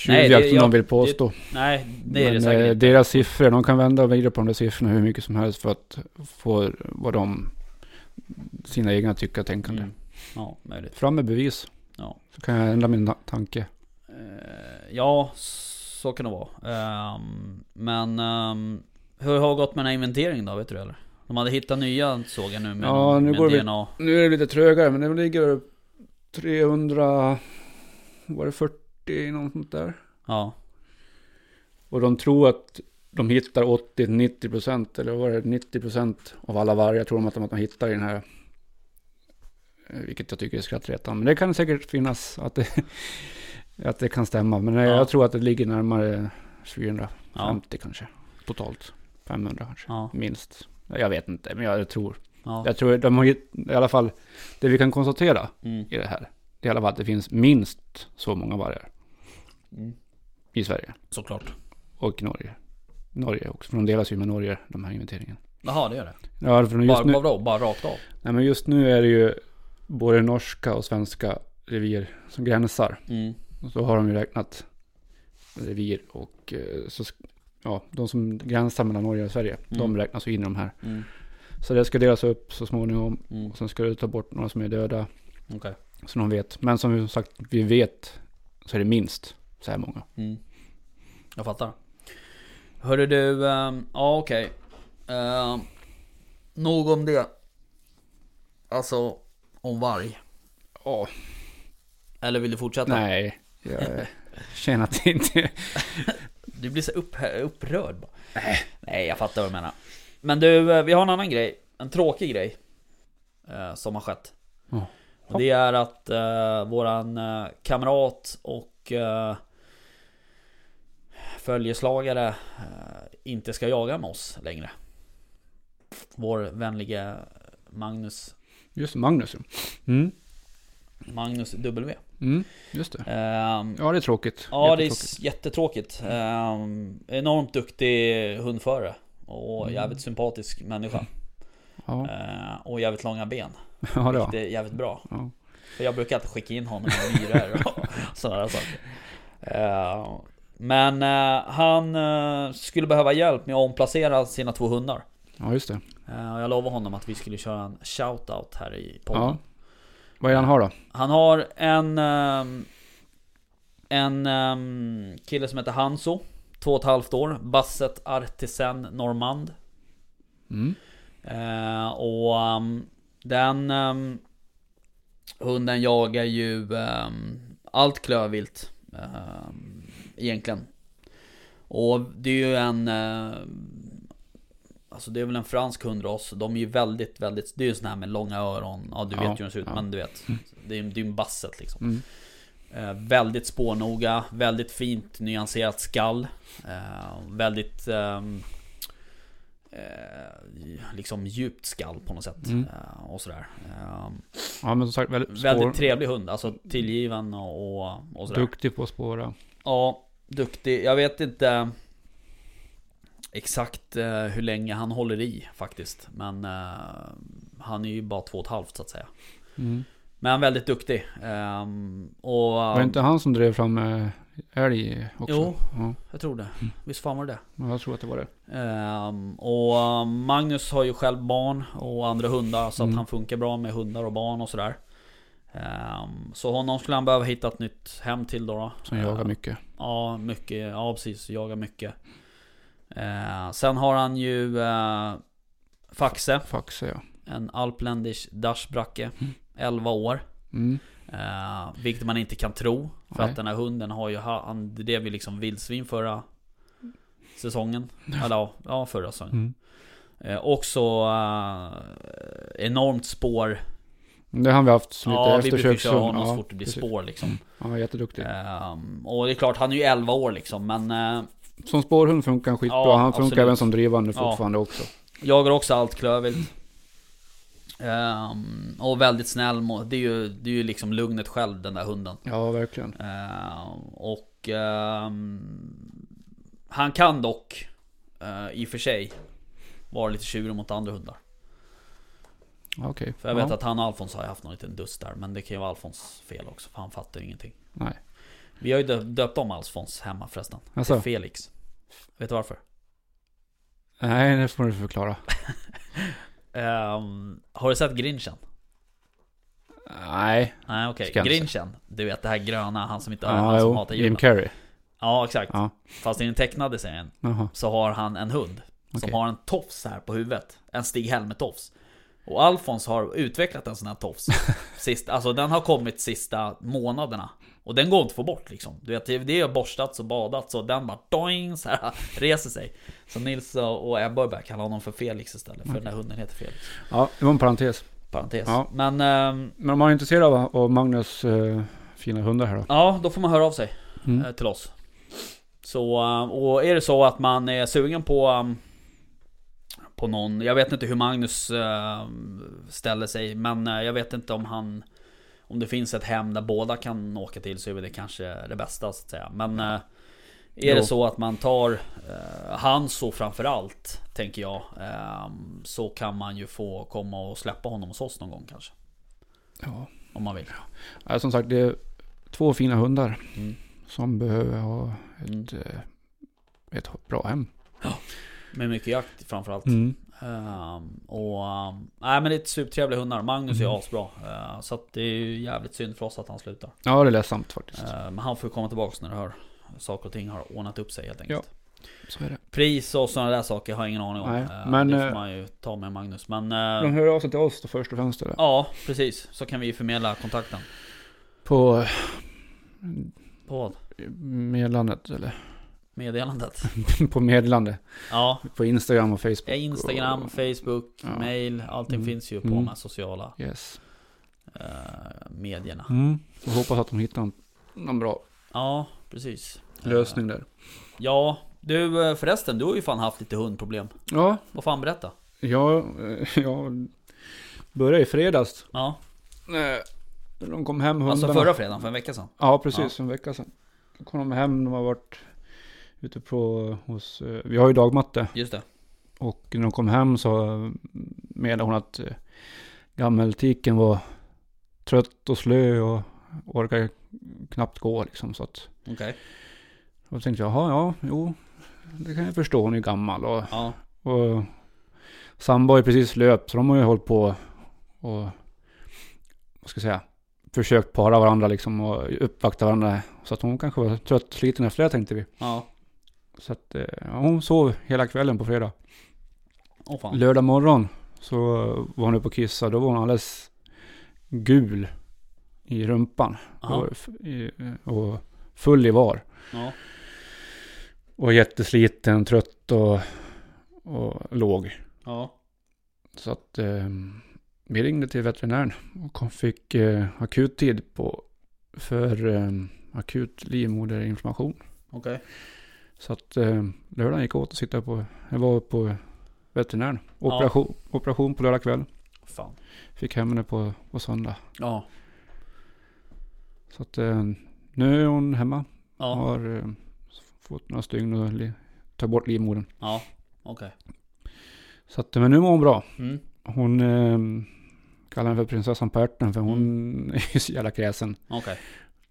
S1: Nej,
S2: tjuvjakt
S1: det-
S2: som
S1: jag-
S2: de vill påstå.
S1: Nej, det är
S2: Men
S1: det
S2: eh,
S1: säkert inte.
S2: deras siffror, de kan vända och vrida på de där siffrorna hur mycket som helst för att få vad de, sina egna tycker och tänkande.
S1: Mm. Ja, möjligt.
S2: Fram med bevis.
S1: Ja.
S2: Så kan jag ändra min na- tanke.
S1: Eh, ja, så kan det vara. Ehm, men ehm, hur har det gått med den här inventeringen då? Vet du det, eller? De hade hittat nya såg jag nu med,
S2: Ja, nu
S1: med
S2: går vi-
S1: DNA.
S2: Nu är det lite trögare, men det ligger 300, var det 40, något sånt där.
S1: Ja,
S2: Och de tror att de hittar 80-90 procent, eller vad var det, 90 procent av alla vargar tror de att de, att de hittar i den här. eh, Vilket jag tycker är skrattretande. Men det kan säkert finnas att det Att det kan stämma. Men eh,
S1: Ja.
S2: jag tror att det ligger närmare 450
S1: Ja,
S2: kanske. Totalt. 500 kanske.
S1: ja,
S2: Minst. Jag vet inte, men jag tror.
S1: ja.
S2: Jag tror de har ju, i alla fall, det vi kan konstatera
S1: Mm.
S2: i det här. Det är i alla fall att det finns minst så många vargar
S1: Mm.
S2: i Sverige.
S1: Såklart.
S2: Och i Norge. Norge också, för de delas ju med Norge, de här inventeringen.
S1: Jaha, det gör det.
S2: Ja, för just
S1: Bara,
S2: nu,
S1: vadå? bara rakt av?
S2: nej, men just nu är det ju både norska och svenska revir som gränsar.
S1: Mm.
S2: Och så har de ju räknat revir och eh, så, sk- ja, de som gränsar mellan Norge och Sverige, de
S1: Mm.
S2: räknas ju in i de här.
S1: Mm.
S2: Så det ska delas upp så småningom
S1: Mm.
S2: och sen ska du ta bort några som är döda.
S1: Okej.
S2: Så de vet. Men som vi sagt, vi vet så är det minst så här många.
S1: Mm. Jag fattar. Hörru du, ehm, ja okej. Ehm, nog om det. Alltså, om varg.
S2: Ja,
S1: Eller vill du fortsätta?
S2: nej. Jag eh, känner att det inte...
S1: Du blir så upp, upprörd bara. Nej, jag fattar vad du menar. Men du, eh, vi har en annan grej. En tråkig grej. eh, Som har skett.
S2: Ja.
S1: Och det är att eh, våran eh, kamrat och eh, följeslagare eh, inte ska jaga med oss längre. Vår vänlige Magnus,
S2: Just det, Magnus. ja. Mm.
S1: Magnus W.
S2: Mm, just det.
S1: Ehm,
S2: Ja, det är tråkigt.
S1: Ja, det är
S2: Jättetråkigt.
S1: s- jättetråkigt. Ehm, enormt duktig hundförare. Och
S2: Mm.
S1: jävligt sympatisk människa.
S2: Ja,
S1: Ehm, och jävligt långa ben.
S2: ja det var.
S1: Vilket är jävligt bra.
S2: Ja.
S1: För jag brukar alltid skicka in honom i myror och sådana där saker. Ehm, men eh, han eh, skulle behöva hjälp med att omplacera sina två hundar.
S2: ja, just det.
S1: Ehm, och jag lovade honom att vi skulle köra en shout-out här i podden.
S2: Ja. Vad är han har då?
S1: Han har en... ehm, En ehm, kille som heter Hanso. Två och ett halvt år. Basset Artisan Normand.
S2: Mm.
S1: Eh, och ehm, den ehm, hunden jagar ju ehm, allt klövvilt. ehm, egentligen. Och det är ju en... ehm, alltså det är väl en fransk hundras. De är ju väldigt, väldigt... Det är ju en sån här med långa öron. Ja, du
S2: Ja,
S1: vet ju hur den ser ut.
S2: ja.
S1: Men du vet. Det är ju det är ju en basset liksom.
S2: Mm.
S1: Eh, väldigt spårnoga, väldigt fint nyanserat skall. Eh, väldigt ehm, eh, liksom djupt skall på något sätt.
S2: Mm.
S1: Eh, och sådär. Eh,
S2: Ja, men som sagt väldigt, spår,
S1: väldigt trevlig hund, alltså tillgiven och, och, och sådär.
S2: Duktig på att spåra.
S1: Ja, duktig. Jag vet inte eh, exakt eh, hur länge han håller i faktiskt. Men eh, han är ju bara två och ett halvt så att säga.
S2: Mm.
S1: Men väldigt duktig. Ehm, och,
S2: Var det inte han som drev fram eh, älg också? Mm.
S1: Jo.
S2: Ja,
S1: Jag tror det. Visst fan var det det?
S2: men jag tror att det var det.
S1: Ehm, och Magnus har ju själv barn och andra hundar så att
S2: Mm.
S1: han funkar bra med hundar och barn och sådär. Ehm, så honom skulle han behöva hitta ett nytt hem till då. då.
S2: Som jagar mycket.
S1: Ja, mycket. Ja, precis. Jagar mycket. Ehm, sen har han ju eh, Faxe,
S2: Faxe ja.
S1: en alpländisch dashbracke. 11 år.
S2: Mm.
S1: Eh, vilket man inte kan tro. För
S2: Nej.
S1: att den här hunden har ju, ha- han drev ju liksom vildsvin förra säsongen. Eller ja, ja, förra säsongen.
S2: Mm.
S1: Eh, också eh, enormt spår.
S2: Det har vi haft som lite
S1: Ja, vi brukar
S2: eftersökshund.
S1: köra honom så fort det blir
S2: precis. Mm, typ.
S1: spår liksom.
S2: Ja, jätteduktig.
S1: Ehm, och det är klart, han är ju 11 år liksom. Men eh,
S2: Som spårhund funkar han skitbra.
S1: Ja,
S2: han
S1: absolut.
S2: funkar även som drivande
S1: Ja.
S2: fortfarande också.
S1: jagar också allt klövvilt. Ehm, och väldigt snäll. mot- Det är, ju, det är ju liksom lugnet själv, den där hunden.
S2: Ja, verkligen.
S1: Eh, och ehm, han kan dock eh, i och för sig vara lite tjurig mot andra hundar.
S2: Ja, Okej.
S1: För jag
S2: ja.
S1: vet att han och Alfons har haft någon liten dust där. Men det kan ju vara Alfons fel också, för han fattar ju ingenting.
S2: Nej.
S1: Vi har ju dö- döpt om Alfons hemma förresten. Till
S2: Alltså,
S1: Felix. Vet du varför?
S2: nej, det får du förklara.
S1: Ehm, har du sett Grinchen?
S2: Nej.
S1: Nej okej,
S2: Ska jag inte se.
S1: Grinchen. Du vet det här gröna, han som inte
S2: Ja,
S1: han som
S2: jo.
S1: hatar
S2: Jim
S1: julen.
S2: Carrey.
S1: Ja exakt.
S2: Ja.
S1: Fast i den tecknade serien
S2: Jaha.
S1: så har han en hund. Som
S2: Okej.
S1: har en tofs här på huvudet. En Stig Helmer-tofs. Och Alfons har utvecklat en sån här tofs. Sist, alltså den har kommit sista månaderna. Och den går inte att få bort liksom. Du vet, det har borstats och badats och den bara doing så här, reser sig. Så Nils och Ebba börjar kalla honom för Felix istället. För den där hunden heter Felix.
S2: Ja, det var en parentes.
S1: Parentes.
S2: Ja.
S1: Men ehm,
S2: Men om man är intresserad av, av Magnus eh, fina hundar här då.
S1: Ja, då får man höra av sig
S2: Mm.
S1: eh, till oss. Så, eh, och är det så att man är sugen på um, På någon, jag vet inte hur Magnus eh, ställer sig men eh, jag vet inte om han Om det finns ett hem där båda kan åka till så är väl det kanske det bästa så att säga men eh, Är det
S2: Jo.
S1: så att man tar eh, han så framförallt Tänker jag eh, Så kan man ju få komma och släppa honom hos oss någon gång kanske
S2: Ja.
S1: Om man vill
S2: Ja, som sagt, det är två fina hundar
S1: Mm.
S2: som behöver ha
S1: Mm.
S2: ett, eh, ett bra hem.
S1: Med mycket jakt framförallt
S2: Mm.
S1: Ehm, och, ehm, nej men det är supertrevliga hundar. Magnus är
S2: Mm.
S1: asbra. Ehm, så att det är ju jävligt synd för oss att han slutar.
S2: Ja, det är ledsamt faktiskt.
S1: Ehm, men han får ju komma tillbaks när det hör. Saker och ting har ordnat upp sig helt enkelt.
S2: Så är det.
S1: Pris och sådana där saker har jag ingen aning om.
S2: Nej,
S1: Ehm,
S2: men,
S1: det får
S2: eh, Mm-hmm.
S1: man ju ta med Magnus. Men eh,
S2: De hör av sig till oss då först och främst. Eller?
S1: ja, precis. Så kan vi ju förmedla kontakten.
S2: På
S1: På
S2: eh, medlandet eller
S1: meddelandet.
S2: på medlandet.
S1: Ja,
S2: På Instagram och
S1: Eh.
S2: Facebook.
S1: Instagram,
S2: Och,
S1: Facebook,
S2: Ja.
S1: mail. Allting
S2: Mm.
S1: finns ju på
S2: Mm.
S1: de här sociala
S2: yes.
S1: eh, medierna.
S2: Mm. Så hoppas att de hittar en- någon bra
S1: Ja, precis.
S2: lösning där.
S1: Ja, du eh, förresten, du har ju fan haft lite hundproblem.
S2: Ja,
S1: Vad fan, berätta.
S2: ja, eh, ja. Började i fredags.
S1: Ja,
S2: Eh, De kom hem hundarna.
S1: alltså förra fredagen, för en vecka sedan.
S2: Ja, precis. För en vecka sedan. Då kom de hem, de har varit ute på hos... eh, Vi har ju dagmatte.
S1: Just det.
S2: Och när de kom hem så menade hon att eh, gammeltiken var trött och slö och orkade knappt gå liksom. Så att,
S1: Okej.
S2: då tänkte jag, jaha, ja, jo, det kan jag förstå, hon är gammal. Och,
S1: Ja,
S2: och sambo har ju precis löpt, så de har ju hållit på och, vad ska jag säga, försökt para varandra liksom och uppvakta varandra. Så att hon kanske var trött och sliten efter det tänkte vi.
S1: ja.
S2: Så att eh, ja, hon sov hela kvällen på fredag.
S1: Åh fan.
S2: Lördag morgon så var hon uppe och kissade. Då var hon alldeles gul i rumpan.
S1: Aha.
S2: Och, f- i- och full i var.
S1: Ja,
S2: Och jättesliten, trött och, och låg.
S1: ja.
S2: Så att eh, vi ringde till veterinären och kom- fick eh, akuttid på, för eh, akut livmoderinflammation.
S1: Okej.
S2: Så att eh, lördagen gick åt att sitta på, jag var på veterinären. Operation, operation på lördag kväll.
S1: Fan.
S2: Fick hem henne på, på söndag.
S1: Ja.
S2: Så att eh, nu är hon hemma.
S1: Ja.
S2: Har eh, fått några stygn och li- tagit bort livmodern.
S1: Ja. Okej.
S2: Så att, men nu mår hon bra.
S1: Mm.
S2: Hon eh, kallar henne för prinsessan på ärten för hon är ju så jävla kräsen.
S1: Okej.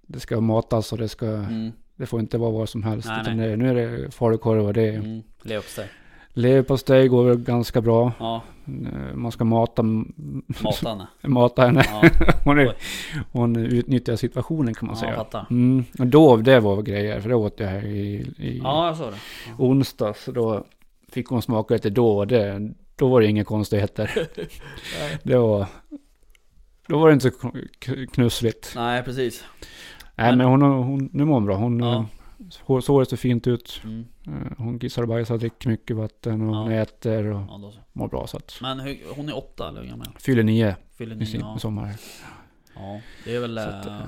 S2: Det ska matas och det ska,
S1: Mm.
S2: det får inte vara vad som helst.
S1: Nej,
S2: utan Det, nu är det falukorv och det är
S1: Mm. Leverpastej.
S2: leverpastej går väl ganska bra.
S1: Ja.
S2: Eh, Man ska mata,
S1: Mata henne.
S2: mata henne.
S1: Ja.
S2: Hon,
S1: Oj.
S2: är, hon utnyttjar situationen kan man
S1: ja, jag
S2: säga.
S1: fattar.
S2: Mm. och Dov, det var grejer, för det åt jag här i, i
S1: Ja, jag såg det.
S2: onsdags. Då fick hon smaka lite då och det, då var det inga konstigheter. det var, då var det inte så k- k- knussligt.
S1: Nej, precis.
S2: Nej men hon, har- hon, nu mår hon bra. Hon,
S1: Ja.
S2: ja. Såret ser fint ut.
S1: Mm.
S2: Eh, Hon kissar och bajsar, dricker mycket vatten och
S1: Ja.
S2: hon äter och
S1: Ja, då så.
S2: mår bra. Så att,
S1: Men hur, hon är åtta eller hur gammal är hon?
S2: fyller nio
S1: Fyller
S2: i
S1: nio?
S2: sin
S1: Ja.
S2: sommar.
S1: ja. Det är väl...
S2: Så att,
S1: eh,
S2: eh,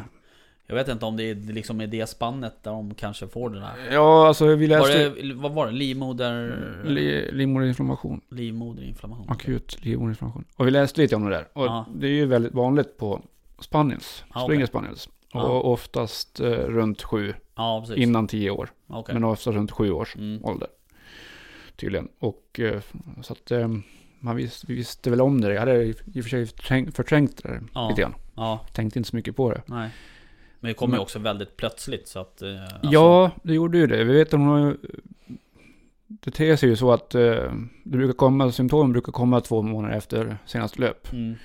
S1: jag vet inte om det är liksom i det spannet där de kanske får det där.
S2: Ja, alltså vi
S1: Var
S2: läste
S1: det, vad var det? Livmoder...
S2: li, livmoderinflammation.
S1: Livmoderinflammation.
S2: akut livmoderinflammation. Och vi läste lite om det där. Och
S1: Ja.
S2: det är ju väldigt vanligt på spaniels,
S1: Ja,
S2: springer
S1: okej.
S2: spaniels.
S1: Ja.
S2: Och oftast eh, runt sju,
S1: Ja, precis.
S2: innan tio år.
S1: Okej.
S2: Men oftast runt sju års
S1: Mm.
S2: ålder. Tydligen. Och eh, så att eh, man visste, vi visste väl om det. Jag hade i i och för sig förträngt, förträngt det där
S1: Ja.
S2: lite grann.
S1: Ja,
S2: Tänkte inte så mycket på det.
S1: nej. Men det kommer ju
S2: Men-
S1: också väldigt plötsligt så att... eh, Alltså,
S2: Ja, det gjorde ju det. Vi vet att hon har ju... Det ter sig ju så att eh, det brukar komma, symptomen brukar komma två månader efter senaste löp.
S1: Mm,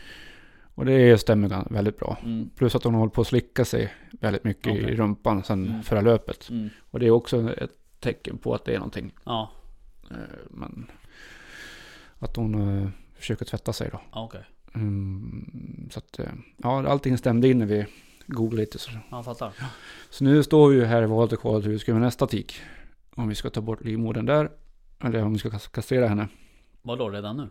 S2: Och det stämmer gan- väldigt bra.
S1: mm,
S2: Plus att hon håller på att slicka sig väldigt mycket
S1: Okej.
S2: i rumpan sen
S1: Mm.
S2: förra löpet.
S1: mm.
S2: Och det är också ett tecken på att det är någonting.
S1: Ja,
S2: Eh, Men att hon eh, försöker tvätta sig då.
S1: ja, okej.
S2: Mm, Så att, eh, ja, allting stämde in när vi googlade lite. Så,
S1: Jag fattar.
S2: så nu står vi ju här i valet och kvalet hur vi ska göra med nästa tik. Om vi ska ta bort livmodern där. Eller om vi ska kas- kastrera henne.
S1: Vadå, redan nu?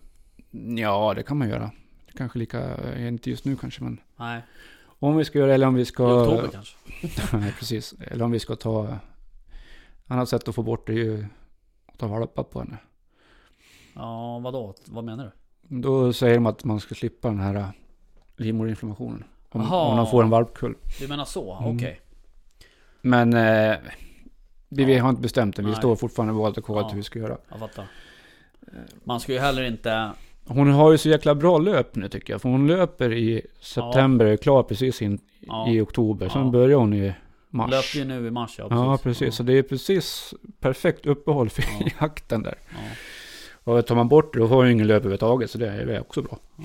S2: Ja, det kan man göra. Kanske lika, eh, inte just nu kanske men.
S1: Nej.
S2: Om vi ska göra eller om vi
S1: I
S2: ska...
S1: oktober kanske.
S2: Nej, precis. Eller om vi ska ta... eh, Annat sätt att få bort det är ju att ta valpar på henne.
S1: Ja, vadå? Vad menar du?
S2: Då säger de att man ska slippa den här livmoderinflammationen. Om,
S1: Aha.
S2: om de får en valpkull.
S1: Du menar så?
S2: Mm.
S1: Okej.
S2: Men eh, vi, vi
S1: Ja.
S2: har inte bestämt det. Vi
S1: Nej.
S2: står fortfarande valt och kvalet
S1: Ja.
S2: hur vi ska göra.
S1: Jag fattar. Man ska ju heller inte...
S2: Hon har ju så jäkla bra löp nu tycker jag. För hon löper i september, är klar precis in
S1: Ja.
S2: i oktober. Sen
S1: Ja.
S2: börjar hon i mars.
S1: Löper ju nu i mars ja,
S2: Ja, precis. Så det är precis perfekt uppehåll för
S1: Ja.
S2: jakten där.
S1: Ja,
S2: Och tar man bort det då har hon ju ingen löp överhuvudtaget. Så det är väl också bra.
S1: ja.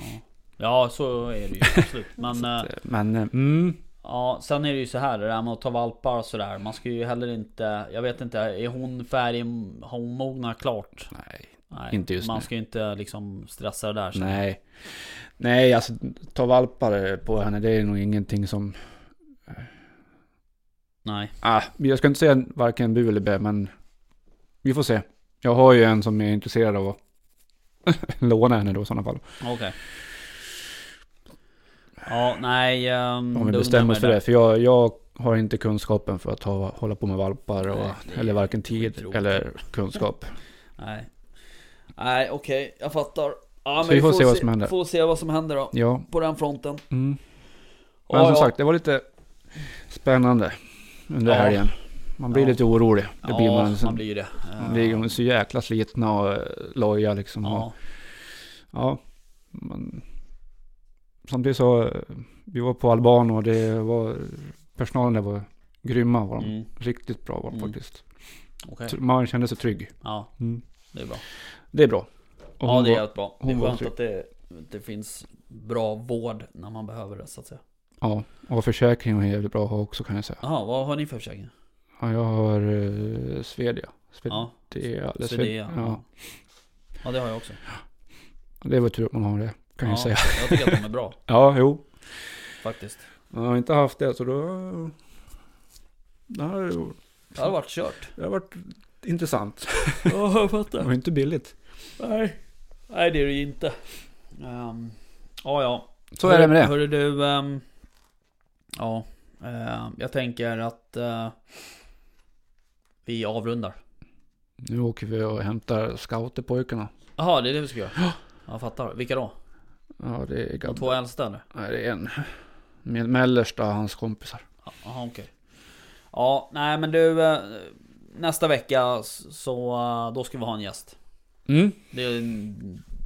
S1: ja, så är det ju absolut. Men eh,
S2: Men, eh, mm,
S1: ja, sen är det ju så här det där med att ta valpar och sådär. Man ska ju heller inte... Jag vet inte, är hon färdig? Har hon mognat klart?
S2: nej.
S1: Nej,
S2: Inte just
S1: Man
S2: nu.
S1: ska ju inte liksom stressa det där. så.
S2: Nej. Nej, alltså ta valpar på henne, det är nog ingenting som...
S1: Nej.
S2: Ah, jag ska inte säga varken bu eller bä, men vi får se. Jag har ju en som är intresserad av att låna henne då i sådana fall.
S1: Okej. Ja, nej. ehm,
S2: Om
S1: det
S2: vi
S1: undrar
S2: bestämmer
S1: mig
S2: oss för
S1: där.
S2: det. För jag, jag har inte kunskapen för att ha, hålla på med valpar och,
S1: Nej, det är
S2: eller varken tid
S1: skittråkigt.
S2: eller kunskap.
S1: Nej. Nej, okej. Jag fattar. Ja,
S2: Så vi får se vad som händer.
S1: Får se vad som händer då.
S2: Ja,
S1: På den fronten.
S2: mm. men
S1: Ja,
S2: som
S1: ja.
S2: sagt, det var lite spännande under
S1: Ja.
S2: helgen. Man blir
S1: Ja.
S2: lite orolig. Det
S1: ja,
S2: blir man.
S1: man,
S2: Sen,
S1: blir ju det. Ja.
S2: Ligger de så jäkla slitna och eh, loja liksom. Ja.
S1: Ja.
S2: Och, ja men, samtidigt så, eh, vi var på Alban och det var, personalen där var grymma var de.
S1: Mm.
S2: Riktigt bra var de
S1: Mm.
S2: faktiskt.
S1: Okej.
S2: Tr- Man kände sig trygg.
S1: Ja, det är bra.
S2: Det är bra. Och
S1: Ja,
S2: hon
S1: det är
S2: var,
S1: helt bra. Det
S2: hon
S1: är
S2: var
S1: skönt
S2: trygg.
S1: att det, det finns bra vård när man behöver det så att säga.
S2: ja, och försäkringen var jävligt bra att ha också kan jag säga.
S1: Jaha, vad har ni för försäkring?
S2: Ja, jag har eh, Svedia. Svedia.
S1: Ja,
S2: eller
S1: Swedea.
S2: Swed- ja.
S1: ja, det har jag också.
S2: Det var tur att man har det kan
S1: ja,
S2: jag säga.
S1: Jag tycker att de är bra
S2: Ja, jo.
S1: faktiskt.
S2: Jag har inte haft det så då... Det här är ju-
S1: Det hade varit kört.
S2: Det har varit intressant.
S1: Ja, jag
S2: Det
S1: fattar.
S2: var inte billigt.
S1: Nej. Nej, det är det ju inte. Um, ja, ja.
S2: Så är det med det.
S1: Hörru du, ehm, ja, eh, jag tänker att eh, vi avrundar.
S2: Nu åker vi och hämtar scouterpojkarna.
S1: Jaha, det är det vi ska göra? Ja. Jag fattar. Vilka då?
S2: Ja, det är
S1: De
S2: Gabbe.
S1: två äldsta eller?
S2: Nej, det är en. Med mellersta hans kompisar.
S1: Ja, Jaha, okej. Ja, nej men du, eh, nästa vecka s- så eh, då ska vi ha en gäst.
S2: Mm.
S1: Det,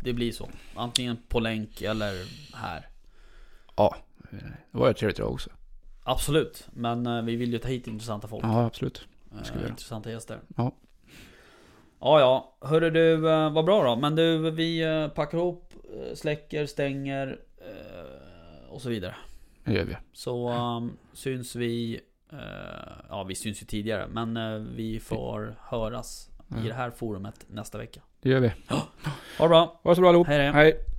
S1: det blir så. Antingen på länk eller här.
S2: Det var ju trevligt idag också.
S1: Absolut, men eh, vi vill ju ta hit intressanta folk.
S2: Ja, absolut.
S1: Eh,
S2: ska vi göra.
S1: Intressanta gäster.
S2: Ja.
S1: Ja, ja. Hörru du, eh, vad bra då. Men du, vi eh, packar ihop, eh, släcker, stänger eh, och så vidare.
S2: Det gör vi.
S1: Så um, syns vi, eh, ja vi syns ju tidigare, men eh, vi får höras i det här forumet nästa vecka.
S2: Det gör vi.
S1: Ha det bra,
S2: Ha det så bra allihop.
S1: hej hej!
S2: Hej.